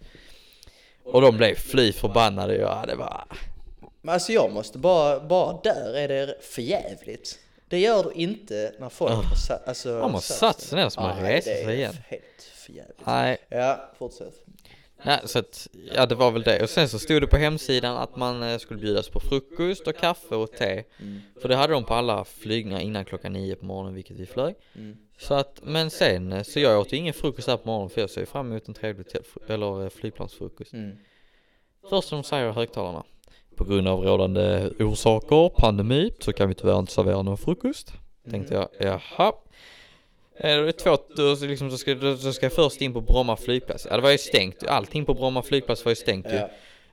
Speaker 1: Och de blev fly förbannade, ja det var...
Speaker 2: Men alltså jag måste bara, bara där är det för jävligt. Det gör du inte när folk har satt, alltså,
Speaker 1: Man Ah. har satt sig ner så man
Speaker 2: Nej,
Speaker 1: reser
Speaker 2: det är
Speaker 1: sig igen.
Speaker 2: helt för jävligt.
Speaker 1: Nej,
Speaker 2: Ja, fortsätt.
Speaker 1: nej, så att, ja det var väl det. Och sen så stod det på hemsidan att man eh, skulle bjudas på frukost och kaffe och te.
Speaker 2: Mm.
Speaker 1: För det hade de på alla flygningar innan klockan nio på morgonen, vilket vi flög.
Speaker 2: Mm.
Speaker 1: Så att, men sen, eh, så jag åt ju ingen frukost här på morgonen för jag ser ju fram emot en trevlig hotellfru- eller eh, flygplansfrukost.
Speaker 2: Mm.
Speaker 1: Först som säger högtalarna. På grund av rådande orsaker, pandemi, så kan vi tyvärr inte servera någon frukost. Tänkte jag, jaha. Eh, Det är två, då, så liksom, så, ska, då, så ska jag först in på Bromma flygplats. Ja, det var ju stängt. Allting på Bromma flygplats var ju stängt ju.
Speaker 2: Ja.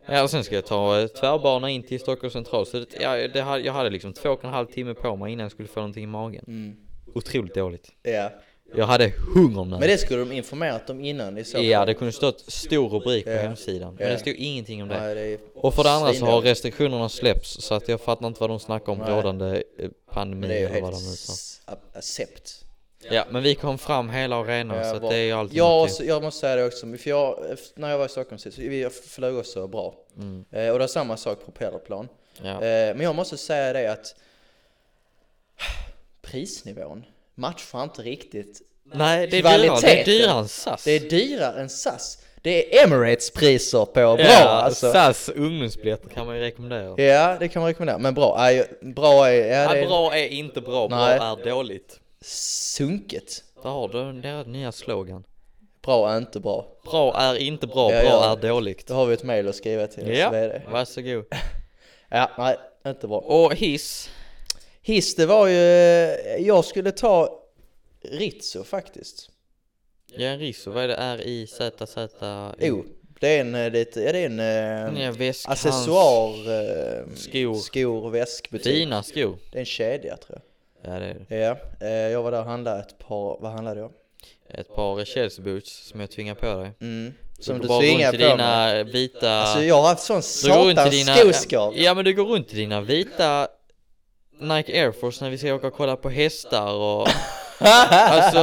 Speaker 1: Ja, och sen ska jag ta eh, tvärbana in till Stockholms central. Så det, ja, det, hade- jag hade liksom två och en halv timme på mig innan jag skulle få någonting i magen.
Speaker 2: Mm.
Speaker 1: Otroligt dåligt.
Speaker 2: ja.
Speaker 1: Jag hade hungernöd.
Speaker 2: Men det skulle de informerat om innan i så fall.
Speaker 1: Ja, det kunde stått stor rubrik på
Speaker 2: Ja.
Speaker 1: hemsidan. Men
Speaker 2: Ja.
Speaker 1: det stod ingenting om det.
Speaker 2: Nej, det är
Speaker 1: Och för det andra så har
Speaker 2: svindåligt.
Speaker 1: restriktionerna släppts så att jag fattar inte vad de snackar om
Speaker 2: Nej.
Speaker 1: rådande eh, pandemi
Speaker 2: Men det är ju
Speaker 1: eller vad
Speaker 2: helt
Speaker 1: de nu sa.
Speaker 2: s- a- accept.
Speaker 1: Ja, men vi kom fram hela arenan så att
Speaker 2: bra.
Speaker 1: det är ju alltid
Speaker 2: ja,
Speaker 1: någonting.
Speaker 2: så, jag måste säga det också, för jag, när jag var i Stockholm sist, så vi- jag flög också bra.
Speaker 1: Mm,
Speaker 2: Eh, och det var samma sak propellerplan.
Speaker 1: ja.
Speaker 2: Eh, men jag måste säga det att prisnivån matchar inte riktigt.
Speaker 1: Nej, det är dyrare. Det är
Speaker 2: kvaliteten.
Speaker 1: dyrare än SAS.
Speaker 2: Det är dyrare än SAS. Det är Emirates priser på bra
Speaker 1: ja,
Speaker 2: alltså.
Speaker 1: SAS ungdomsbiljetter kan man ju rekommendera.
Speaker 2: Ja, det kan man rekommendera. Men bra, aj, bra är, ja,
Speaker 1: Ja,
Speaker 2: det är
Speaker 1: bra är inte bra, bra
Speaker 2: Nej.
Speaker 1: är dåligt.
Speaker 2: sunket.
Speaker 1: Där har du deras nya slogan.
Speaker 2: Bra är inte bra.
Speaker 1: Bra är inte bra, bra
Speaker 2: Ja,
Speaker 1: är
Speaker 2: ja.
Speaker 1: dåligt.
Speaker 2: Då har vi ett mail att skriva till
Speaker 1: Ja.
Speaker 2: oss vd.
Speaker 1: Varsågod.
Speaker 2: Ja, nej, inte bra.
Speaker 1: Och hiss.
Speaker 2: Hiss, det var ju... Jag skulle ta Rizzo faktiskt.
Speaker 1: Ja, Risso, vad är det? R-I-Z-Z?
Speaker 2: Jo,
Speaker 1: Mm.
Speaker 2: det är en eh, lite... Ja, det är en... eh,
Speaker 1: Ja, väskhals.
Speaker 2: accessoar... eh,
Speaker 1: Skor.
Speaker 2: Skor och väskbutik.
Speaker 1: Dina skor.
Speaker 2: Det är en kedja tror
Speaker 1: Ja, det är det.
Speaker 2: jag. Ja, eh, jag var där och handlade ett par... Vad handlade jag?
Speaker 1: Ett par Chelsea boots som jag tvingar på dig.
Speaker 2: Mm. Som
Speaker 1: går
Speaker 2: du
Speaker 1: bara
Speaker 2: tvingar
Speaker 1: runt
Speaker 2: på
Speaker 1: i
Speaker 2: mig.
Speaker 1: dina vita...
Speaker 2: Alltså jag har haft sån
Speaker 1: Du går runt i
Speaker 2: satans
Speaker 1: dina-
Speaker 2: skoskav.
Speaker 1: Ja men du går runt i dina vita Nike Air Force när vi ska åka och kolla på hästar och Alltså,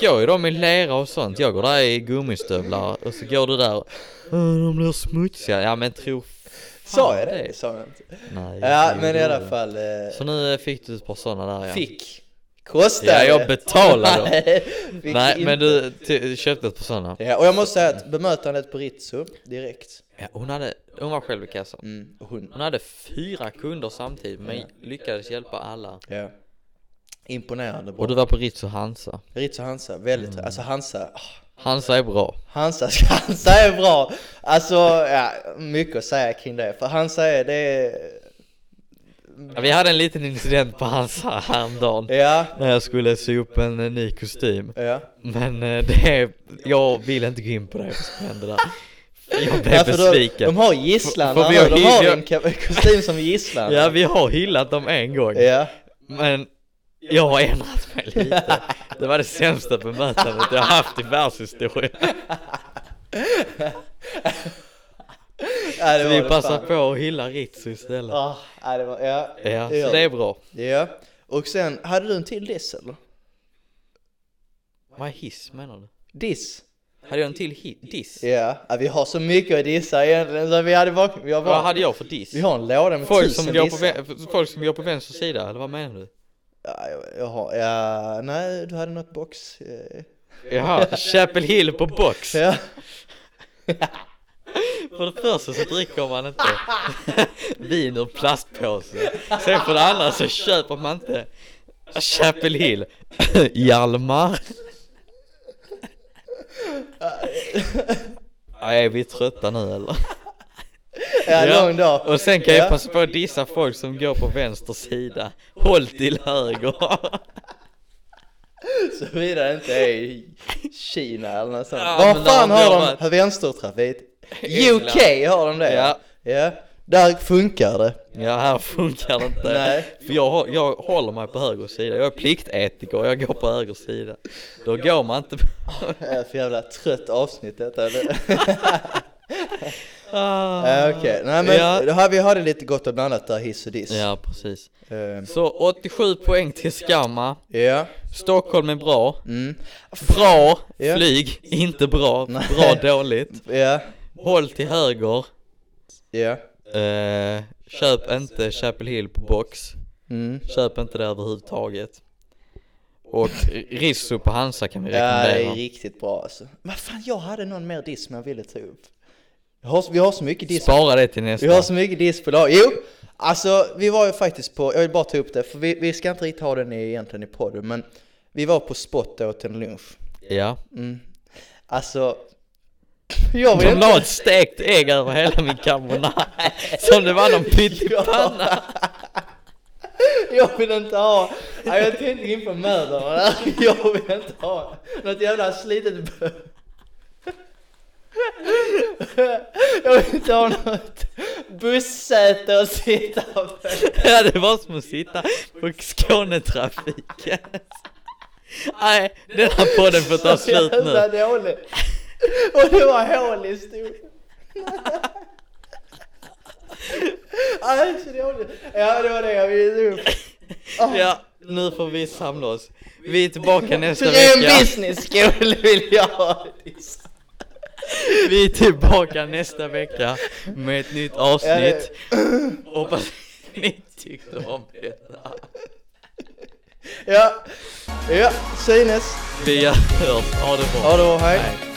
Speaker 1: går ju de i lera och sånt? Jag går där i gummistövlar och så går du där och "Åh, de blir smutsiga. Ja men tro fan
Speaker 2: Sa jag det? Sa jag inte.
Speaker 1: Nej.
Speaker 2: Ja,
Speaker 1: det
Speaker 2: men i
Speaker 1: gjorde
Speaker 2: alla
Speaker 1: du.
Speaker 2: fall. eh,
Speaker 1: Så nu eh, fick du ett par sådana där ja.
Speaker 2: Fick. Kostade.
Speaker 1: Ja, jag betalade.
Speaker 2: Nej, fick
Speaker 1: Nej
Speaker 2: inte.
Speaker 1: men du ty- köpte ett par sådana.
Speaker 2: Ja, och jag måste säga att bemötandet på Rizzo, direkt.
Speaker 1: Ja, hon, hade, hon var själv i kassan.
Speaker 2: Mm, och hon.
Speaker 1: Hon hade fyra kunder samtidigt men lyckades hjälpa alla.
Speaker 2: Ja. Imponerande bra.
Speaker 1: Och du var på Ritz och Hansa.
Speaker 2: Rizzo Hansa, väldigt,
Speaker 1: Mm.
Speaker 2: alltså Hansa, ah,
Speaker 1: Hansa är bra.
Speaker 2: Hansa, Hansa är bra. Alltså, ja, mycket att säga kring det. För Hansa är, det är,
Speaker 1: Ja, Mm. Vi hade en liten incident på Hansa häromdagen.
Speaker 2: ja,
Speaker 1: Eh. När jag skulle sy upp en eh, ny kostym.
Speaker 2: ja.
Speaker 1: Men eh, det, jag vill inte gå in på det som hände där. Jag blev
Speaker 2: Ja, för då-
Speaker 1: besviken.
Speaker 2: Alltså, De har gisslan,
Speaker 1: Får- får vi
Speaker 2: de,
Speaker 1: ha
Speaker 2: de har
Speaker 1: hyr-
Speaker 2: en ka- kostym som gisslan.
Speaker 1: Ja, vi har hyllat dem en gång.
Speaker 2: ja.
Speaker 1: Men jag har ändrat mig lite. Det var det sämsta bemötandet jag haft i världshistorien.
Speaker 2: Ja, det
Speaker 1: Så
Speaker 2: var
Speaker 1: vi
Speaker 2: det
Speaker 1: passar
Speaker 2: fan.
Speaker 1: på att hylla Ritz istället.
Speaker 2: Ah, ja, det var, ja.
Speaker 1: Ja,
Speaker 2: gör
Speaker 1: så det är bra.
Speaker 2: Ja, och sen, hade du en till diss eller?
Speaker 1: Vad är hiss menar du?
Speaker 2: Diss?
Speaker 1: Hade jag en till hi- diss?
Speaker 2: Ja, ja, vi har så mycket att dissa egentligen så vi hade bak... Vi har,
Speaker 1: Vad
Speaker 2: bak...
Speaker 1: hade jag för diss?
Speaker 2: Vi har en låda med
Speaker 1: Folk
Speaker 2: tusen
Speaker 1: som, går på,
Speaker 2: dissar.
Speaker 1: vä- folk som går på vänster sida, eller vad menar du?
Speaker 2: Ja, jag, jag har, ja, nej, du hade något box... eh,
Speaker 1: Jaha, Chapel Hill på box!
Speaker 2: Ja,
Speaker 1: För det första så dricker man inte vin ur plastpåse. Sen för det andra så köper man inte Chapel Hill. Hjalmar. Ja, Är vi trötta nu eller?
Speaker 2: ja,
Speaker 1: Ja,
Speaker 2: lång dag.
Speaker 1: Och sen kan
Speaker 2: Ja.
Speaker 1: jag passa på att dissa folk som går på vänster sida. Håll till höger.
Speaker 2: Såvida det inte är i Kina eller något sånt.
Speaker 1: Ja,
Speaker 2: Var
Speaker 1: men
Speaker 2: fan
Speaker 1: där har vi
Speaker 2: har de
Speaker 1: varit.
Speaker 2: vänstertrafik?
Speaker 1: England.
Speaker 2: UK har de det
Speaker 1: Ja.
Speaker 2: ja. Där funkar det.
Speaker 1: Ja, här funkar det inte.
Speaker 2: Nej.
Speaker 1: För jag, hå- jag håller mig på höger sida. Jag är pliktetiker och jag går på höger sida. Då går man inte på...
Speaker 2: Det är för jävla trött avsnitt detta. Det-
Speaker 1: Ah.
Speaker 2: Ja, Eh, Okej, nej men
Speaker 1: Ja.
Speaker 2: det här, vi hade lite gott och blandat där, hiss och diss.
Speaker 1: Ja, precis.
Speaker 2: Ehm,
Speaker 1: Så 87 poäng till Skamma.
Speaker 2: ja.
Speaker 1: Stockholm är bra.
Speaker 2: Mm.
Speaker 1: Bra
Speaker 2: Ja.
Speaker 1: flyg, inte bra.
Speaker 2: Nej.
Speaker 1: Bra dåligt.
Speaker 2: Ja,
Speaker 1: Håll till höger.
Speaker 2: ja.
Speaker 1: Eh, köp inte Chapel Hill på box.
Speaker 2: Mm.
Speaker 1: Köp inte det överhuvudtaget. Och Risso på Hansa kan vi
Speaker 2: Ja, det är
Speaker 1: rekommendera.
Speaker 2: riktigt bra alltså. Vad fan, jag hade någon mer diss som jag ville ta upp. Jag har, vi har så mycket diss.
Speaker 1: Spara det till
Speaker 2: Vi har
Speaker 1: nästa.
Speaker 2: så mycket diss på lag. Jo! Alltså, vi var ju faktiskt på, jag vill bara ta upp det, för vi, vi ska inte riktigt ha den i, egentligen i podden, men vi var på spot och åt en lunch.
Speaker 1: Ja.
Speaker 2: Mm. Alltså, jag vill
Speaker 1: De
Speaker 2: inte...
Speaker 1: la ett stekt ägg över hela min carbonara. Som det var någon pyttipanna.
Speaker 2: Jag vill inte ha, nej, jag tänkte in på mödrar, jag vill inte ha något jävla slitet bö- Jag vill inte ha något bussäte att sitta på.
Speaker 1: Ja, det var som att sitta på Skånetrafiken. Nej, den här podden får ta slut nu.
Speaker 2: Jävla dålig. Och det var hål i stolen. Nej, så dåligt. Ja, det var det jag ville ta upp.
Speaker 1: Ja, nu får vi samla oss. Vi är tillbaka nästa
Speaker 2: Grym
Speaker 1: vecka.
Speaker 2: business school vill jag ha.
Speaker 1: Vi är tillbaka nästa vecka med ett nytt avsnitt. Hoppas ni tyckte om detta.
Speaker 2: Ja, ja, synes.
Speaker 1: Vi hörs, ha det bra.
Speaker 2: Ha det bra, hej.
Speaker 1: Hej.